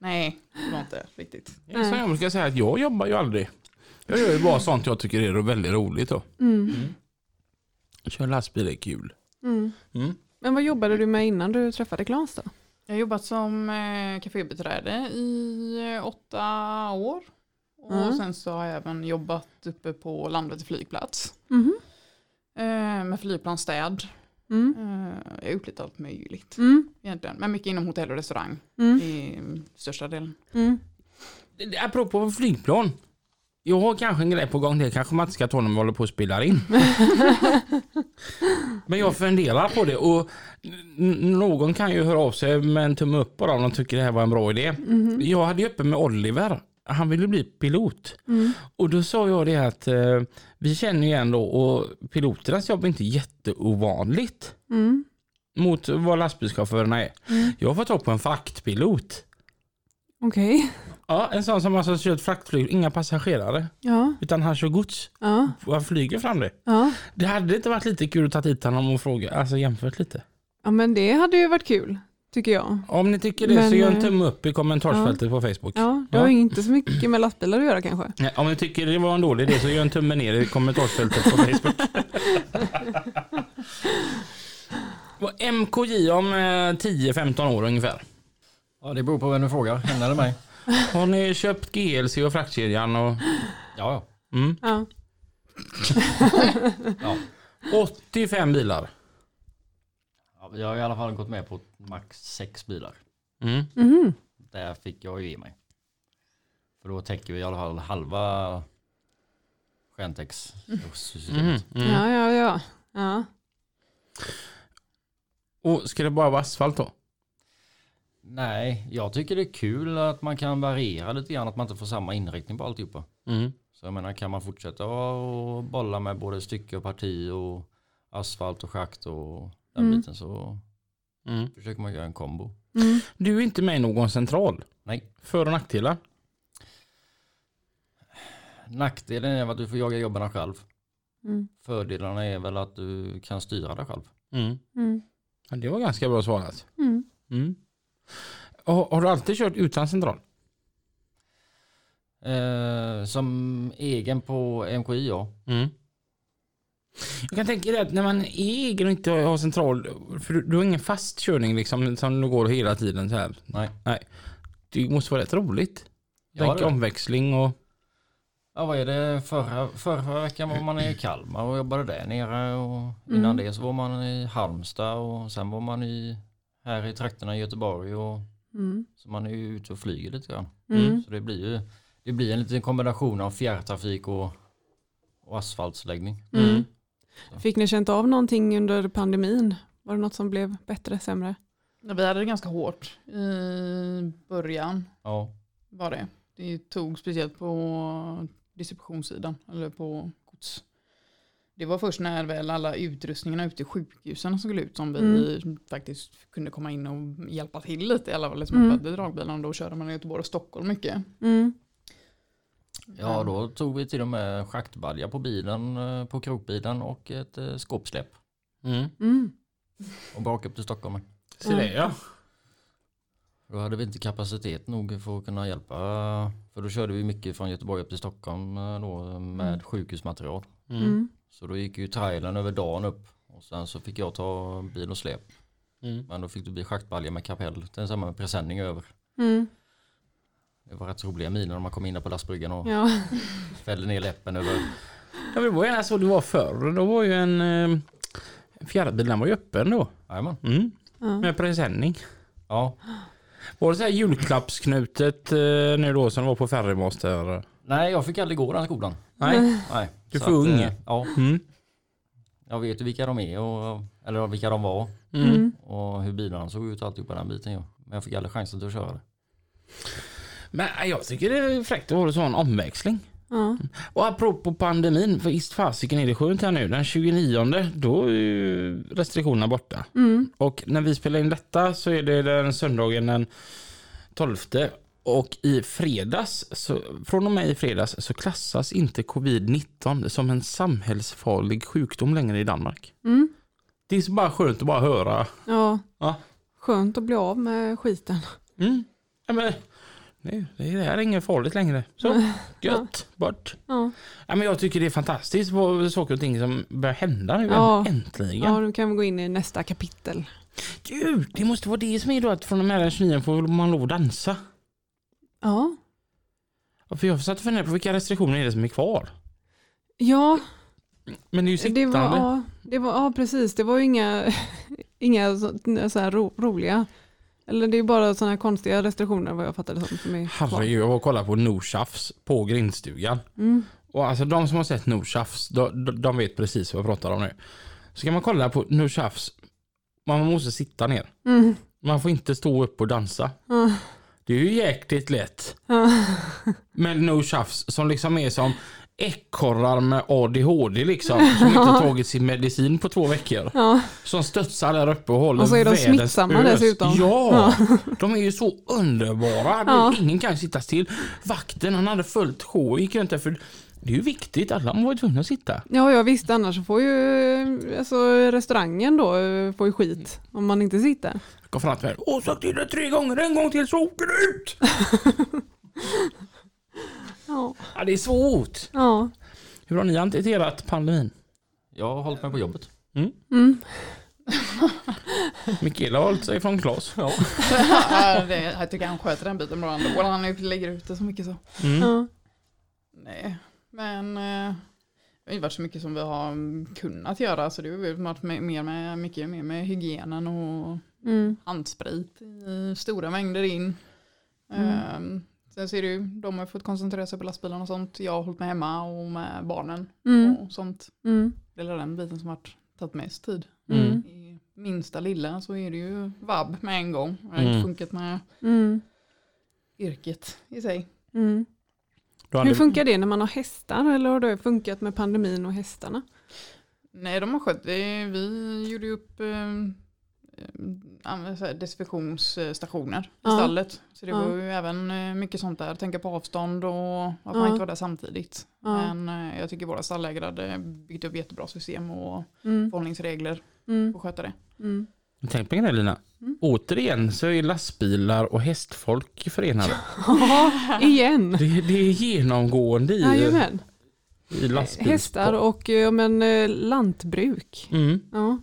Nej, det var inte riktigt.
Ja, så Jag brukar säga att jag jobbar ju aldrig. Jag gör ju bara sånt jag tycker är väldigt roligt. Då.
Mm.
Kör lastbil är kul.
Mm.
Mm.
Men vad jobbade du med innan du träffade Claes då?
Jag har jobbat som eh, kafébiträde i eh, åtta år. Och
Mm.
sen så har jag även jobbat uppe på Landvetter flygplats.
Mhm.
Eh, med flygplan städ.
Mm.
Eh, jag har gjort lite allt möjligt
Mm.
egentligen. Men mycket inom hotell och restaurang.
Mm.
I mm, största delen.
Mm.
Apropå flygplan. Jag har kanske en grej på gång. Det kanske man inte ska ta när man håller på och spelar in. Men jag funderar på det. Och n- någon kan ju höra av sig med en tumme upp bara om de tycker det här var en bra idé. Jag hade ju uppe med Oliver. Han ville bli pilot. Och då sa jag det att eh, vi känner ju ändå och piloternas jobb är inte jätteovanligt
Mm.
mot vad lastbilschaufförerna är. Jag har fått tag på en fraktpilot.
Okej.
Ja, en sån som alltså kör ett fraktflyg, inga passagerare,
Ja.
utan han kör gods.
Ja.
Och Han flyger fram det.
Ja.
Det hade inte varit lite kul att ta hit honom och fråga, alltså jämfört lite.
ja, men det hade ju varit kul tycker jag.
Om ni tycker det
Men,
så gör en
eh,
tumme upp i kommentarsfältet på Facebook.
Ja, det har
Ja.
ju inte så mycket med lastbilar att göra kanske.
Nej, Om ni tycker det var en dålig idé så gör en tumme ner i kommentarsfältet på Facebook. <laughs> Och MKJ om eh, 10-15 år ungefär.
Ja, det beror på vem du frågar. Henne eller mig.
Har ni köpt GLC och fraktkedjan och
Ja,
Ja.
85 bilar?
ja. Jag har i alla fall gått med på max sex bilar.
Mm.
Där fick jag ju i mig. För då täcker vi i alla fall halva Scantex-systemet.
Mm.
Mm. Ja, ja, ja. ja.
Och ska det bara vara asfalt då?
Nej, jag tycker det är kul att man kan variera lite grann. Att man inte får samma inriktning på alltihopa.
Mm.
Så jag menar, kan man fortsätta och bolla med både stycke och parti och asfalt och schakt och den
Mm.
biten så
Mm.
försöker man göra en kombo.
Mm.
Du är inte med i någon central.
Nej,
För och nackdelar.
nackdelen är att du får jaga jobben själv.
Mm.
Fördelarna är väl att du kan styra dig själv.
Mm.
Mm.
Ja, det var ganska bra svarat.
Mm.
Mm. Har, har du alltid kört utan central?
Eh, som egen på MKI ja.
Jag kan tänka dig att när man är egen och inte har central, för du, du har ingen fast körning liksom som du går hela tiden så här.
Nej.
Nej. Det måste vara rätt roligt.
Ja,
Tänk
det är det.
omväxling och...
Ja vad är det förra, förra, förra veckan var man i Kalmar och jobbade där nere och innan det så var man i Halmstad och sen var man i, här i trakterna i Göteborg och
Mm.
så man är ju ute och flyger lite grann.
Mm.
Så det blir ju det blir en liten kombination av fjärrtrafik och och asfaltsläggning.
Mm. Fick ni känt av någonting under pandemin? Var det något som blev bättre, sämre?
Ja, Vi hade det ganska hårt i början.
Ja,
var det. Det tog speciellt på distributionssidan, eller på gods. Det var först när väl alla utrustningarna ute i sjukhusen skulle ut som vi faktiskt kunde komma in och hjälpa till lite i alla fall. Liksom
Mm.
mm. dragbilarna då körde man i Göteborg och Stockholm mycket.
Mm.
ja då tog vi till och med schaktbalja på bilen, eh, på krokbilen och ett eh, skåpsläpp
Mm.
Mm.
och brakade upp till Stockholm.
Se det ja.
Då hade vi inte kapacitet nog för att kunna hjälpa. För då körde vi mycket från Göteborg upp till Stockholm eh, då, med sjukhusmaterial.
Mm.
Så då gick ju trailern över dagen upp. Och sen så fick jag ta bil och släp.
Mm.
Men då fick det bli schaktbalja med kapell. Den samma med presenning över.
Mm.
Det var rätt roliga miner när man kom in där på lastbryggan och
Ja.
fällde ner läppen över.
Ja, men det var ju gärna så det var förr. Då var ju en eh, fjärrbil, den var ju öppen då.
Jajamän.
Mm.
Ja.
Med presenning.
Ja.
Var det så här julklappsknutet eh, nu då som var på Ferrymaster?
Nej, jag fick aldrig gå den skolan.
Nej.
Nej.
Du är
Så
för
att,
ung.
eh, Ja,
Mm.
jag vet ju vilka de är och eller vilka de var
Mm.
och hur bilarna såg ut och alltihopa den biten. Ja. Men jag fick aldrig chansen till att köra det.
Men eh, jag tycker det är fräckt att ha en sån omväxling.
Ja.
Och apropå pandemin, för visst fasiken är det skönt här nu. Den 29 då är ju restriktionerna borta.
Mm.
Och när vi spelar in detta så är det den söndagen den 12. Och i fredags, så, från och med i fredags så klassas inte covid-19 som en samhällsfarlig sjukdom längre i Danmark.
Mm.
Det är så bara skönt att bara höra.
ja.
Ja.
Skönt att bli av med skiten.
Mm. Ja, men, nej, det här är inget farligt längre.
<laughs>
Så, gött, bort.
Ja,
Ja, men jag tycker det är fantastiskt vad saker och ting som börjar hända nu
Ja.
äntligen.
ja nu kan vi gå in i nästa kapitel.
Gud, det måste vara det som är då att från och med den 29 får man lov att dansa.
Ja,
Ja, För jag satt och funderade på vilka restriktioner är det som är kvar.
ja,
Men det är ju sittande.
det var, ja, det var, ja precis. Det var ju inga, <laughs> inga så, så här ro, roliga. Eller det är bara sådana här konstiga restriktioner vad jag fattade som. som är kvar.
Herregud, jag var och kollade på Norshafs på grindstugan.
Mm.
Och alltså de som har sett Norshafs, de, de- de vet precis vad jag pratar om nu. Så kan man kolla på Norshafs, man måste sitta ner.
Mm. Ah.
Man får inte stå upp och dansa.
Ja.
Det är ju jäkligt lätt.
Ja.
Men no tjafs som liksom är som ekorrar med ADHD liksom.
<laughs>
Som inte tagit sin medicin på två veckor.
Ja.
Som stötsar där uppe och håller
Och så är de
världens
smittsamma
ös.
dessutom.
Ja, de är ju så underbara. Det-
Ja.
Ingen kan sitta still. Vakten han hade följt show gick runt där för det är ju viktigt. Alla var tvungna att sitta.
Ja, jag visste annars så får ju alltså, restaurangen då eh, får ju skit om man inte sitter.
Jag kom fram till mig. Åh, sagt till dig tre gånger. En gång till så åker du ut.
Ja,
Ja, det är svårt.
ja.
Hur har ni hanterat pandemin?
Jag har hållit mig på jobbet.
Mm.
Mikaela har hållit sig från Klas. Ja.
<laughs> Ja, det, jag tycker han sköter den biten bra ändå. Han lägger ut det så mycket så.
Mm.
ja.
Nej, men eh, det har inte varit så mycket som vi har mm, kunnat göra. Så det har ju varit med- mer med, mycket mer med hygienen och
Mm.
handsprit i stora mängder in.
Mm.
Ehm, sen ser du, de har fått koncentrera sig på lastbilen och sånt. Jag har hållit mig hemma och med barnen
Mm.
och sånt.
Mm.
Det är den biten som har tagit mest tid.
Mm.
I minsta lilla så är det ju vabb med en gång. Det har inte
Mm.
funkat med
Mm.
yrket i sig.
Mm.
Du har
Hur
aldrig-
funkar det när man har hästar eller har det funkat med pandemin och hästarna?
Nej, de har skött det. Vi gjorde ju upp ehm, ehm, anv- så här desinfektionsstationer i
Ja.
stallet. Så det
Ja.
var ju även eh, mycket sånt där. Tänka på avstånd och att
Ja.
man inte var där samtidigt.
Ja.
Men eh, jag tycker våra stallägare hade byggt upp jättebra system och
Mm.
förhållningsregler
Mm.
för att sköta det.
Mm.
Tänk på en grej Lina.
Mm.
Återigen så är lastbilar och hästfolk förenade.
Ja, igen.
Det, det är genomgående i,
Jajamän.
i lastbils...
Hästar och eh, ja, men, eh, lantbruk.
Mm.
Ja,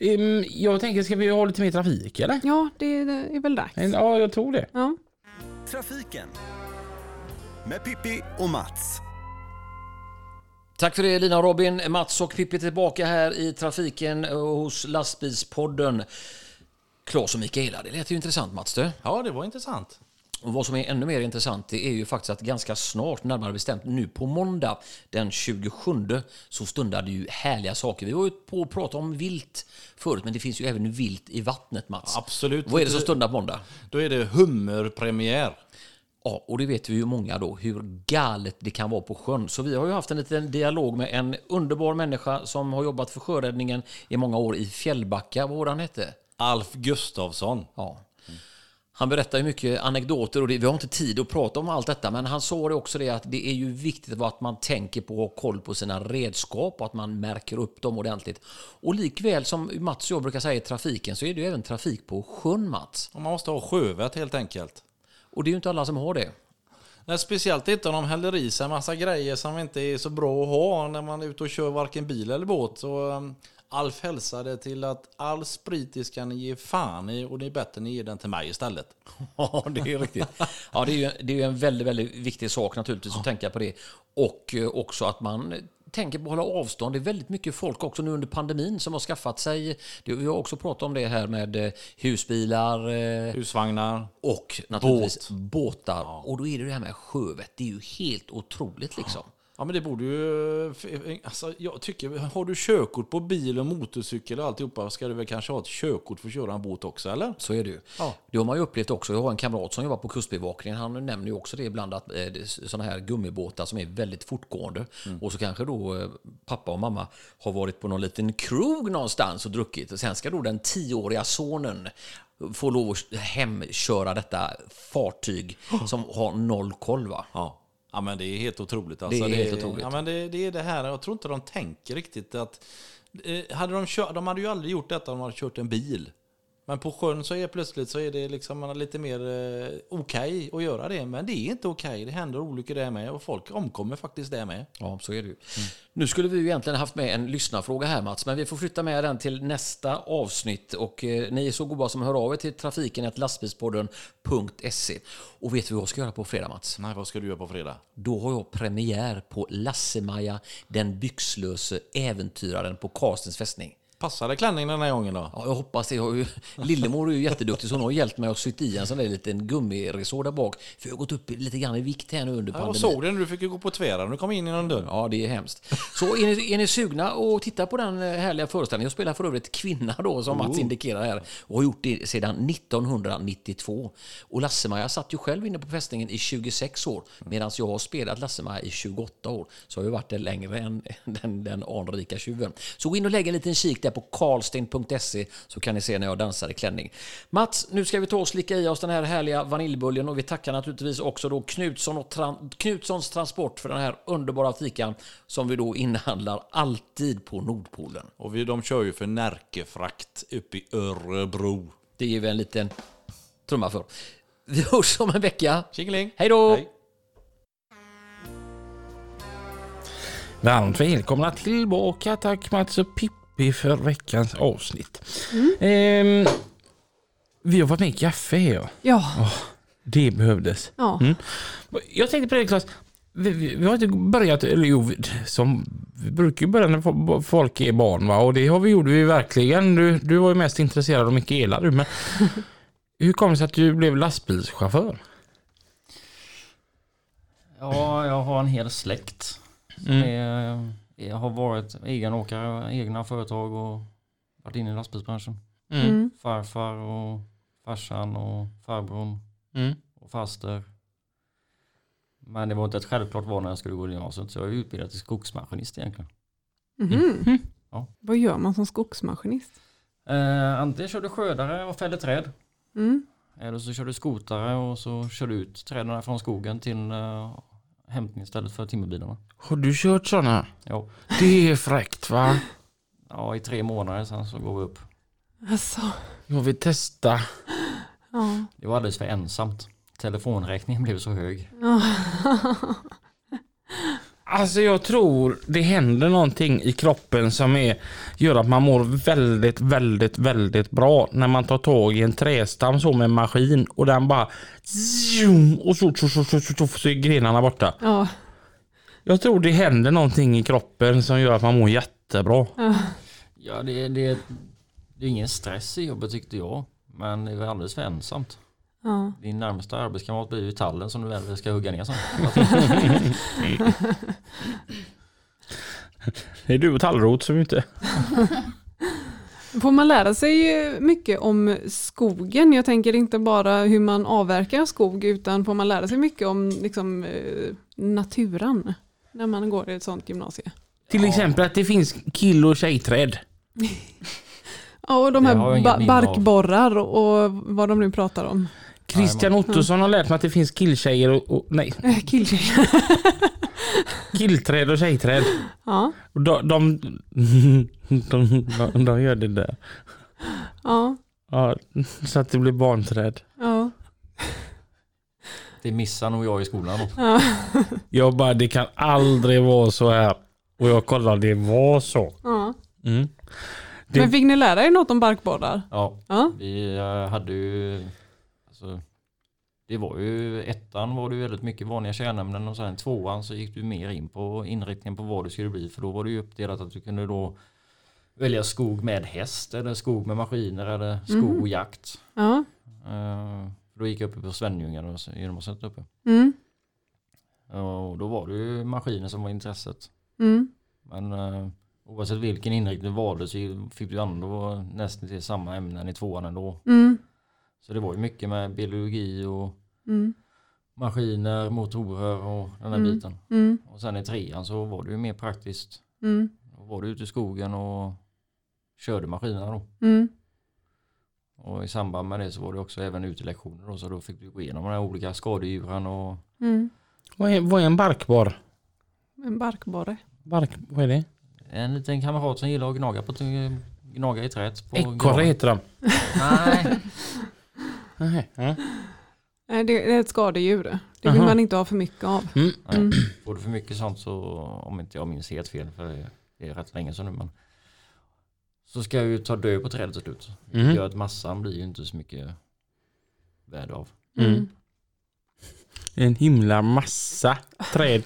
Ehm, Jag tänker, ska vi ha lite mer trafik eller?
ja det, det är väl dags.
Ja, jag tror det.
Ja.
Trafiken. Med Pippi och Mats.
Tack för det Lina och Robin. Mats och Pippi tillbaka här i trafiken eh, hos lastbilspodden. Claes och Mikaela, det lät ju intressant Mats du.
Ja, det var intressant.
Och vad som är ännu mer intressant det är ju faktiskt att ganska snart, närmare bestämt nu på måndag den 27 så stundar det ju härliga saker. Vi var ju på att prata om vilt förut men det finns ju även vilt i vattnet Mats.
Absolut.
Vad är det som stundar på måndag?
Då är det hummerpremiär.
Ja, och det vet vi ju många då hur galet det kan vara på sjön. Så vi har ju haft en liten dialog med en underbar människa som har jobbat för sjöräddningen i många år i Fjällbacka, vad var det han hette?
Alf Gustafsson.
Ja. Han berättar ju mycket anekdoter och det, vi har inte tid att prata om allt detta, men han sa det också det att det är ju viktigt att man tänker på och har koll på sina redskap och att man märker upp dem ordentligt. Och likväl som Mats och jag brukar säga i trafiken så är det ju även trafik på sjön Mats.
Och man måste ha sjövett helt enkelt.
Och det är ju inte alla som har det.
Nej, speciellt inte om de häller i sig en massa grejer som inte är så bra att ha när man är ute och kör varken bil eller båt. Så um, Alf hälsade till att all sprit ska ni ge fan i och det är bättre ni ger den till mig istället.
Ja, det är riktigt. Ja, det är ju, det är ju en väldigt, väldigt viktig sak naturligtvis att tänka på det. Och eh, också att man tänker på att hålla avstånd. Det är väldigt mycket folk också nu under pandemin som har skaffat sig, det- vi har också pratat om det här med eh, husbilar eh,
Husvagnar.
och naturligtvis båtar. Och då är det det här med sjövett. Det är ju helt otroligt liksom.
Ja men det borde ju... Alltså, jag tycker, har du körkort på bil och motorcykel och alltihopa ska du väl kanske ha ett körkort för att köra en båt också eller?
Så är det ju.
Ja.
Det har man ju upplevt också. Jag har en kamrat som jobbar på Kustbevakningen. Han nämner ju också det ibland att sådana här gummibåtar som är väldigt fortgående. Och så kanske då eh, pappa och mamma har varit på någon liten krog någonstans och druckit. Och sen ska då den tioåriga sonen få lov att hemköra detta fartyg som har noll koll. Va?
Ja. Ja men det är helt otroligt. Alltså,
Det är helt otroligt.
Ja men det, det är det här, jag tror inte de tänker riktigt att... eh, Hade de, kört, de hade ju aldrig gjort detta om de hade kört en bil. Men på sjön så är plötsligt så är det liksom man har lite mer eh, okej att göra det. Men det är inte okej. Det händer olyckor där med och folk omkommer faktiskt där med.
Ja, så är det ju.
Mm.
Nu skulle vi ju egentligen haft med en lyssnarfråga här Mats, men vi får flytta med den till nästa avsnitt. Och eh, ni är så goda som hör av er till trafiken.lastbilspodden.se. Och vet du vad jag ska göra på fredag Mats?
Nej, vad ska du göra på fredag?
Då har jag premiär på Lasse-Maja, den byxlöse äventyraren på Karlstens fästning.
Passade klänningen den här gången då?
Ja, jag hoppas det. Jag har
<laughs>
ju, Lillemor är ju jätteduktig så hon har hjälpt mig att sy i en sån där liten gummiresår där bak. För jag har gått upp lite grann i vikt här nu under
Ja,
pandemin.
jag såg det när du fick ju gå på tvären. Du kom in genom dörren.
Ja, det är hemskt. Så är ni, är ni sugna och titta på den eh, härliga föreställningen? Jag spelar för övrigt kvinna då, som Mats indikerar här, och har gjort det sedan 1992. Och Lasse-Maja satt ju själv inne på fästningen i 26 år, medan jag har spelat Lasse-Maja i 28 år. Så har jag varit där längre än <laughs> den, den anrika tjuven. Så gå in och lägg en liten kik där på karlsten.se så kan ni se när jag dansar i klänning. Mats, nu ska vi ta och slicka i oss den här härliga vaniljbuljen och vi tackar naturligtvis också då Knutsson och tran- Knutssons transport för den här underbara fikan som vi då inhandlar alltid på Nordpolen.
Och vi, de kör ju för Närkefrakt uppe i Örebro.
Det ger vi en liten trumma för. Vi hörs om en vecka.
Tjingeling!
Hej då!
Hej.
Varmt välkomna tillbaka. Tack Mats och Pippi för veckans avsnitt.
Mm.
Ehm, vi har fått med kaffe här.
Ja,
Det behövdes.
ja.
Jag tänkte på det Claes. Vi, vi, vi har inte börjat, eller jo, vi- som, vi brukar ju börja när fo- folk är barn va? och det har vi, gjorde vi verkligen. Du, du var ju mest intresserad av
<laughs>
Mikaela du. Men hur kom det sig att du blev lastbilschaufför?
Ja, jag har en hel släkt. som är- Jag har varit egenåkare, egna företag och varit inne i lastbilsbranschen.
Mm.
Farfar och farsan och farbrorn
Mm.
och faster. Men det var inte ett självklart val när jag skulle gå i gymnasiet så jag är utbildad till skogsmaskinist egentligen.
Mhm.
Mm.
Ja.
Vad gör man som skogsmaskinist?
Eh, antingen kör du skördare och fäller träd.
Mm.
Eller så kör du skotare och så kör du ut träden från skogen till eh, hämtning istället för timmerbilarna.
Har du kört sådana?
Ja.
Det är fräckt va?
ja, i tre månader sen så går vi upp.
Alltså,
Jag vill testa.
ja.
Det var alldeles för ensamt. Telefonräkningen blev så hög.
Alltså jag tror det händer någonting i kroppen som är, gör att man mår väldigt, väldigt, väldigt bra när man tar tag i en trästam så med en maskin och den bara zoom, och så, så, så, så, så, så, så är grenarna borta.
ja.
Jag tror det händer någonting i kroppen som gör att man mår jättebra.
Ja, det, det, det är ingen stress i jobbet tyckte jag. Men det var alldeles för ensamt.
Ja.
Din närmsta arbetskamrat blir ju tallen som du väl ska hugga ner sen.
Det är du och tallrot som är ute.
Får man lära sig eh, mycket om skogen? Jag tänker inte bara hur man avverkar skog utan får man lära sig mycket om liksom, eh, naturen när man går i ett sånt gymnasium?
Till exempel att det finns kill och tjejträd.
Ja, och de
Jag har
här
inget
ba-
minne av.
barkborrar och och vad de nu pratar om. <laughs>
Christian Ottosson har lärt mig att det finns killtjejer och, och nej,
Eh, Killtjejer.
killträd och tjejträd.
<laughs> Ja,
Och de, de, <laughs> de, de, de gör det där.
ja,
Ja, så att det blir barnträd.
ja.
Det missar nog jag i skolan då.
ja. <laughs>
Jag bara, det kan aldrig vara så här. Och jag kollar, det var så.
ja.
Mm. Det-
Men fick ni lära er något om barkborrar?
Ja,
Ja.
vi eh, hade ju... Alltså, det var ju... Ettan var det ju väldigt mycket vanliga kärnämnen och sen tvåan så gick du mer in på inriktningen på vad du skulle bli för då var det ju uppdelat att du kunde då välja skog med häst eller skog med maskiner eller skog och jakt.
Ja.
Eh, Då gick jag uppe på Svenljunga då, så- genom att sätta uppe.
Mm.
Och då var det ju maskiner som var intresset.
Mm.
Men eh, oavsett vilken inriktning du valde så fick du ändå nästan till samma ämnen i tvåan ändå.
Mm.
Så det var ju mycket med biologi och
Mm.
maskiner, motorer och den där
Mm.
biten.
Mm.
Och sen i trean så var det ju mer praktiskt.
Mm.
Då var du ute i skogen och körde maskinerna då.
Mm.
Och i samband med det så var det också även utelektioner då så då fick du gå igenom de här olika skadedjuren och
Mm.
Vad är, vad är en barkborr?
En barkborre.
Bark, vad är det?
En liten kamrat som gillar att gnaga, på, gnaga i träet. På
Ekorre
granen.
heter de.
Nej,
Nej, nej.
Nej, det är ett skadedjur. Det vill
Aha.
man inte ha för mycket av. Mm.
får du för mycket sånt så, om inte jag minns helt fel, för det är rätt länge sedan nu, men så ska jag ju ta död på trädet till slut.
Mm.
Det gör att massan blir ju inte så mycket värd av.
Mm. En himla massa träd.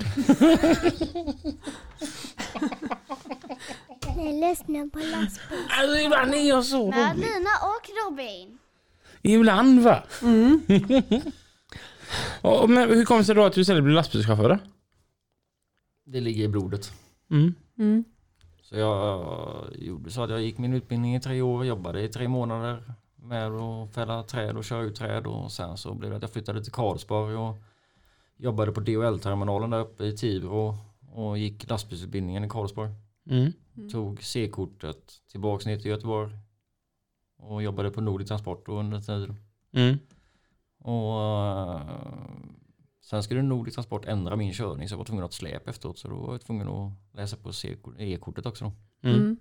Ni lyssnar på lastbil.
Alltså ibland är jag så
Med
rolig.
Lina och Robin.
Ibland va? <laughs> Och, men hur kom det sig då att du istället blev lastbilschaufför? då?
Det ligger i blodet.
Mm.
Mm.
Så jag eh, gjorde så att jag gick min utbildning i tre år, jobbade i tre månader med att fälla träd och köra ut träd och sen så blev det att jag flyttade till Karlsborg och jobbade på DHL-terminalen där uppe i Tibro och gick lastbilsutbildningen i Karlsborg.
Mm.
Tog C-kortet tillbaks ner till Göteborg och jobbade på Nordic Transport då under tiden.
Mm.
Och eh, sen skulle Nordic Transport ändra min körning så jag var tvungen att ha ett släp efteråt så då var jag tvungen att läsa på C-kort- E-kortet också. Då.
Mm.
Mm.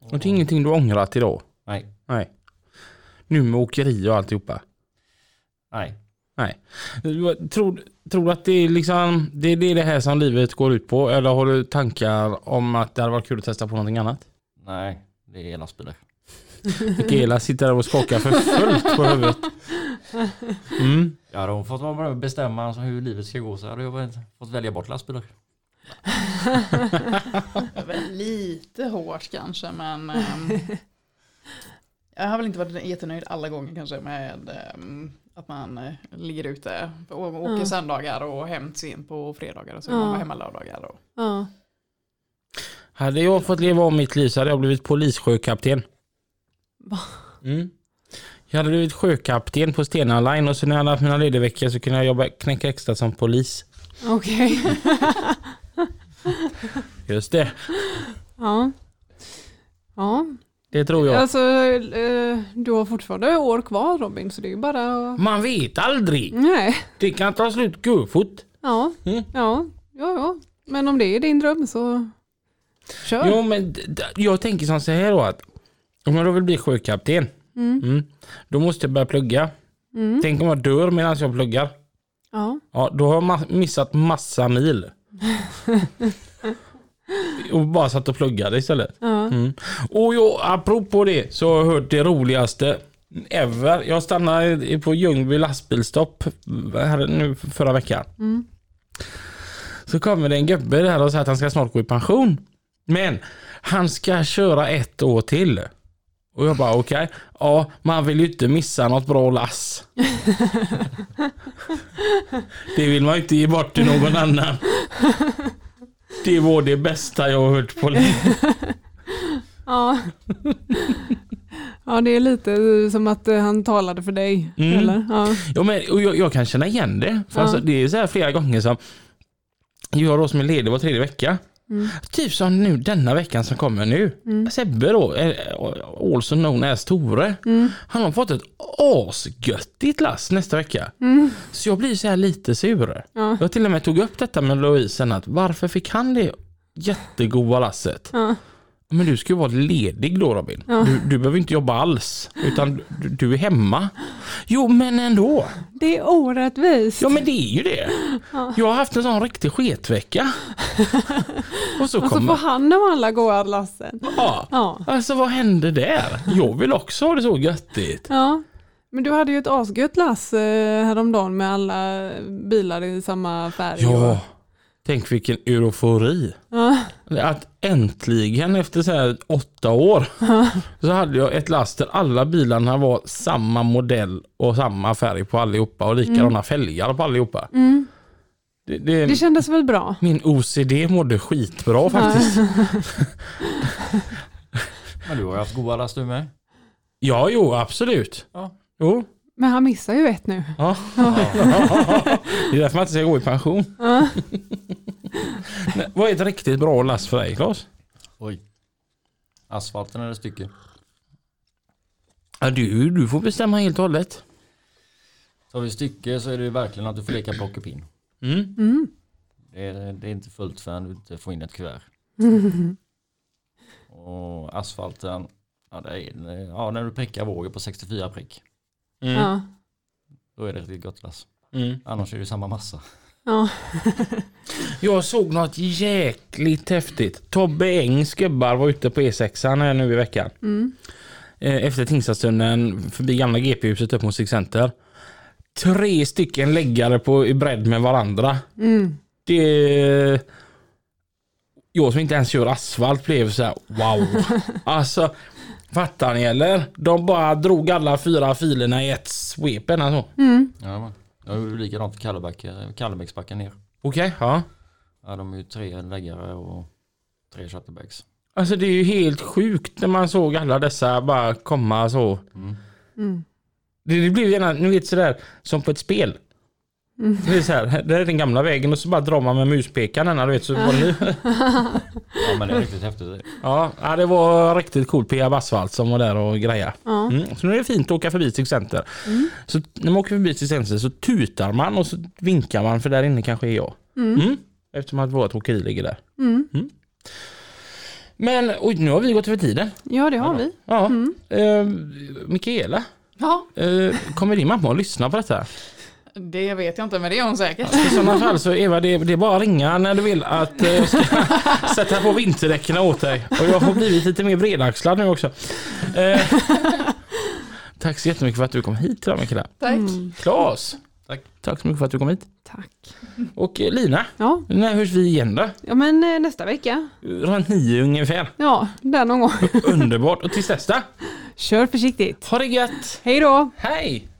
Och det är ingenting du ångrat idag?
Nej.
Nej. Nu med åkeri och alltihopa.
Nej.
Tror, tror du att det är, liksom, det är det är det här som livet går ut på? Eller har du tankar om att det hade varit kul att testa på någonting annat?
Nej, det är lastbilar.
Mikaela sitter där och skakar för fullt på huvudet. Mm.
Ja, hade hon fått vara med och bestämma alltså hur livet ska gå så hade jag väl fått välja bort lastbilar.
Det är väl lite hårt kanske
<laughs>
men ehm, jag har väl inte varit jättenöjd alla gånger kanske med ehm, att man eh, ligger ute och åker
Ja.
söndagar och hem sent på fredagar och så vill
Ja.
man vara hemma lördagar. Och...
<laughs> Ja.
Hade jag fått leva om mitt liv så hade jag blivit polissjökapten.
Va?
Mm. Jag hade blivit sjökapten på Stena Line och sen när jag hade haft mina lediga veckor så kunde jag jobba, knäcka extra som polis.
Okej. <laughs>
Just det,
ja. Ja.
det tror jag.
Alltså, eh, du har fortfarande år kvar Robin, så det är ju bara att...
Man vet aldrig.
Nej.
Det kan ta slut gufot.
Ja.
Mm.
ja, ja, ja. Men om det är din dröm så kör.
Jo men d- d- jag tänker som så här då att om jag då vill bli sjökapten
Mm.
mm, då måste jag börja plugga.
Mm.
Tänk om jag dör medan jag pluggar.
Ja.
Ja, då har jag ma- missat massa mil. och bara satt och pluggade istället.
Ja.
Mm. Och jo, apropå det så har jag hört det roligaste ever. Jag stannade i- på Ljungby lastbilstopp eh, här nu förra veckan. Så kommer det en gubbe där och säger att han ska snart gå i pension. Men han ska köra ett år till. Och jag bara okej, ja man vill ju inte missa något bra lass. det vill man ju inte ge bort till någon annan. Det var det bästa jag har hört på länge.
Ja. ja, det är lite som att eh, han talade för dig.
Mm.
Eller? Ja.
Ja, men, och jag, jag kan känna igen det. För
Ja.
alltså, det är så här flera gånger som jag då som är ledig var tredje vecka.
Mm.
Typ som nu denna veckan som kommer nu. Sebbe då, eh, also known as Tore.
Mm.
Han har fått ett asgöttigt lass nästa vecka. Så jag blir så här lite sur.
Mm. Ja.
Jag till och med tog upp detta med Louise sen att varför fick han det jättegoda lasset?
Ja.
Men du ska ju vara ledig då Robin. Du, du behöver inte jobba alls. Utan du, du är hemma. Jo men ändå.
Det är orättvist.
Ja men det är ju det. Jag har haft en sån riktig sketvecka. Och så
och så
kommer...
Alltså, får han av alla goa lassen.
Ja.
Ja.
Alltså vad hände där? Jag vill också ha det så göttigt.
ja. Men du hade ju ett asgött lass eh, häromdagen med alla bilar i samma färg.
Ja. Tänk vilken eufori.
Ja.
Att äntligen efter så här åtta år så hade jag ett last där alla bilarna var samma modell och samma färg på allihopa och likadana fälgar på allihopa. Det, det,
Det kändes väl bra?
min OCD mådde skitbra faktiskt.
Men du har ju haft goa last du med.
Ja, jo absolut.
Ja.
Jo. <laughs>
Men han missar ju ett nu.
Ja. det är därför man inte ska gå i pension. <laughs> Men Vad är ett riktigt bra last för dig Claes?
Oj. Asfalten eller stycke.
Ja, du, du får bestämma helt och hållet.
Tar vi stycke så är det ju verkligen att du får leka plockepinn.
Mm.
Det är, det är inte fullt förrän du inte får in ett <laughs> kuvert. Och asfalten, ja, det är, ja när du prickar vågen på 64 prick.
Mm.
Ja.
Då är det riktigt gott lass.
Mm.
Annars är det ju samma massa.
Ja.
Jag såg något jäkligt häftigt. Tobbe Engs gubbar var ute på E6 här nu i veckan. Eh, Efter Tingstadstunneln, förbi gamla GP-huset upp mot Six Center. Tre stycken läggare på, i bredd med varandra.
Mm.
Det... Jag som inte ens kör asfalt blev så här: wow. alltså, fattar ni eller? De bara drog alla fyra filerna i ett svep. Alltså.
Mm.
Ja, man. Jag gjorde likadant för Kallebäck- Kallebäcksbacken ner.
Okej, ja.
Ja, de är ju tre läggare och tre chatterbags.
Alltså det är ju helt sjukt när man såg alla dessa bara komma så.
Mm.
Det, det blev gärna, ni vet sådär, som på ett spel. Det är så här, det är den gamla vägen och så bara drar man med muspekaren här, du vet. Så var det,
Ja men det är riktigt häftigt.
ja, ja, det var riktigt coolt. Pia Bassvalt som var där och greja.
Ja.
Mm. Så nu är det fint att åka förbi Six Center. Så när man åker förbi Six Center så tutar man och så vinkar man för där inne kanske är jag. Mm. Eftersom att vårt åkeri ligger där. Mm. Men oj, nu har vi gått över tiden.
ja, det har vi.
Ja. Eh, Mikaela,
Ja,
eh, kommer din mamma att lyssna på detta?
det vet jag inte, men det gör hon säkert.
I sådana fall så Eva, det, det är bara att ringa när du vill att eh, jag ska <laughs> sätta på vinterdäcken åt dig. Och jag har blivit lite mer bredaxlad nu också. Eh, <laughs> tack så jättemycket för att du kom hit idag Mikaela.
Tack.
Mm.
Klas,
Tack.
tack så mycket för att du kom hit.
Tack.
Och eh, Lina,
Ja,
när hörs vi igen då?
ja men eh, nästa vecka.
Runt nio ungefär.
Ja, där någon gång.
Underbart. Och tills nästa,
Kör försiktigt.
ha det gött.
Hej då!
Hej!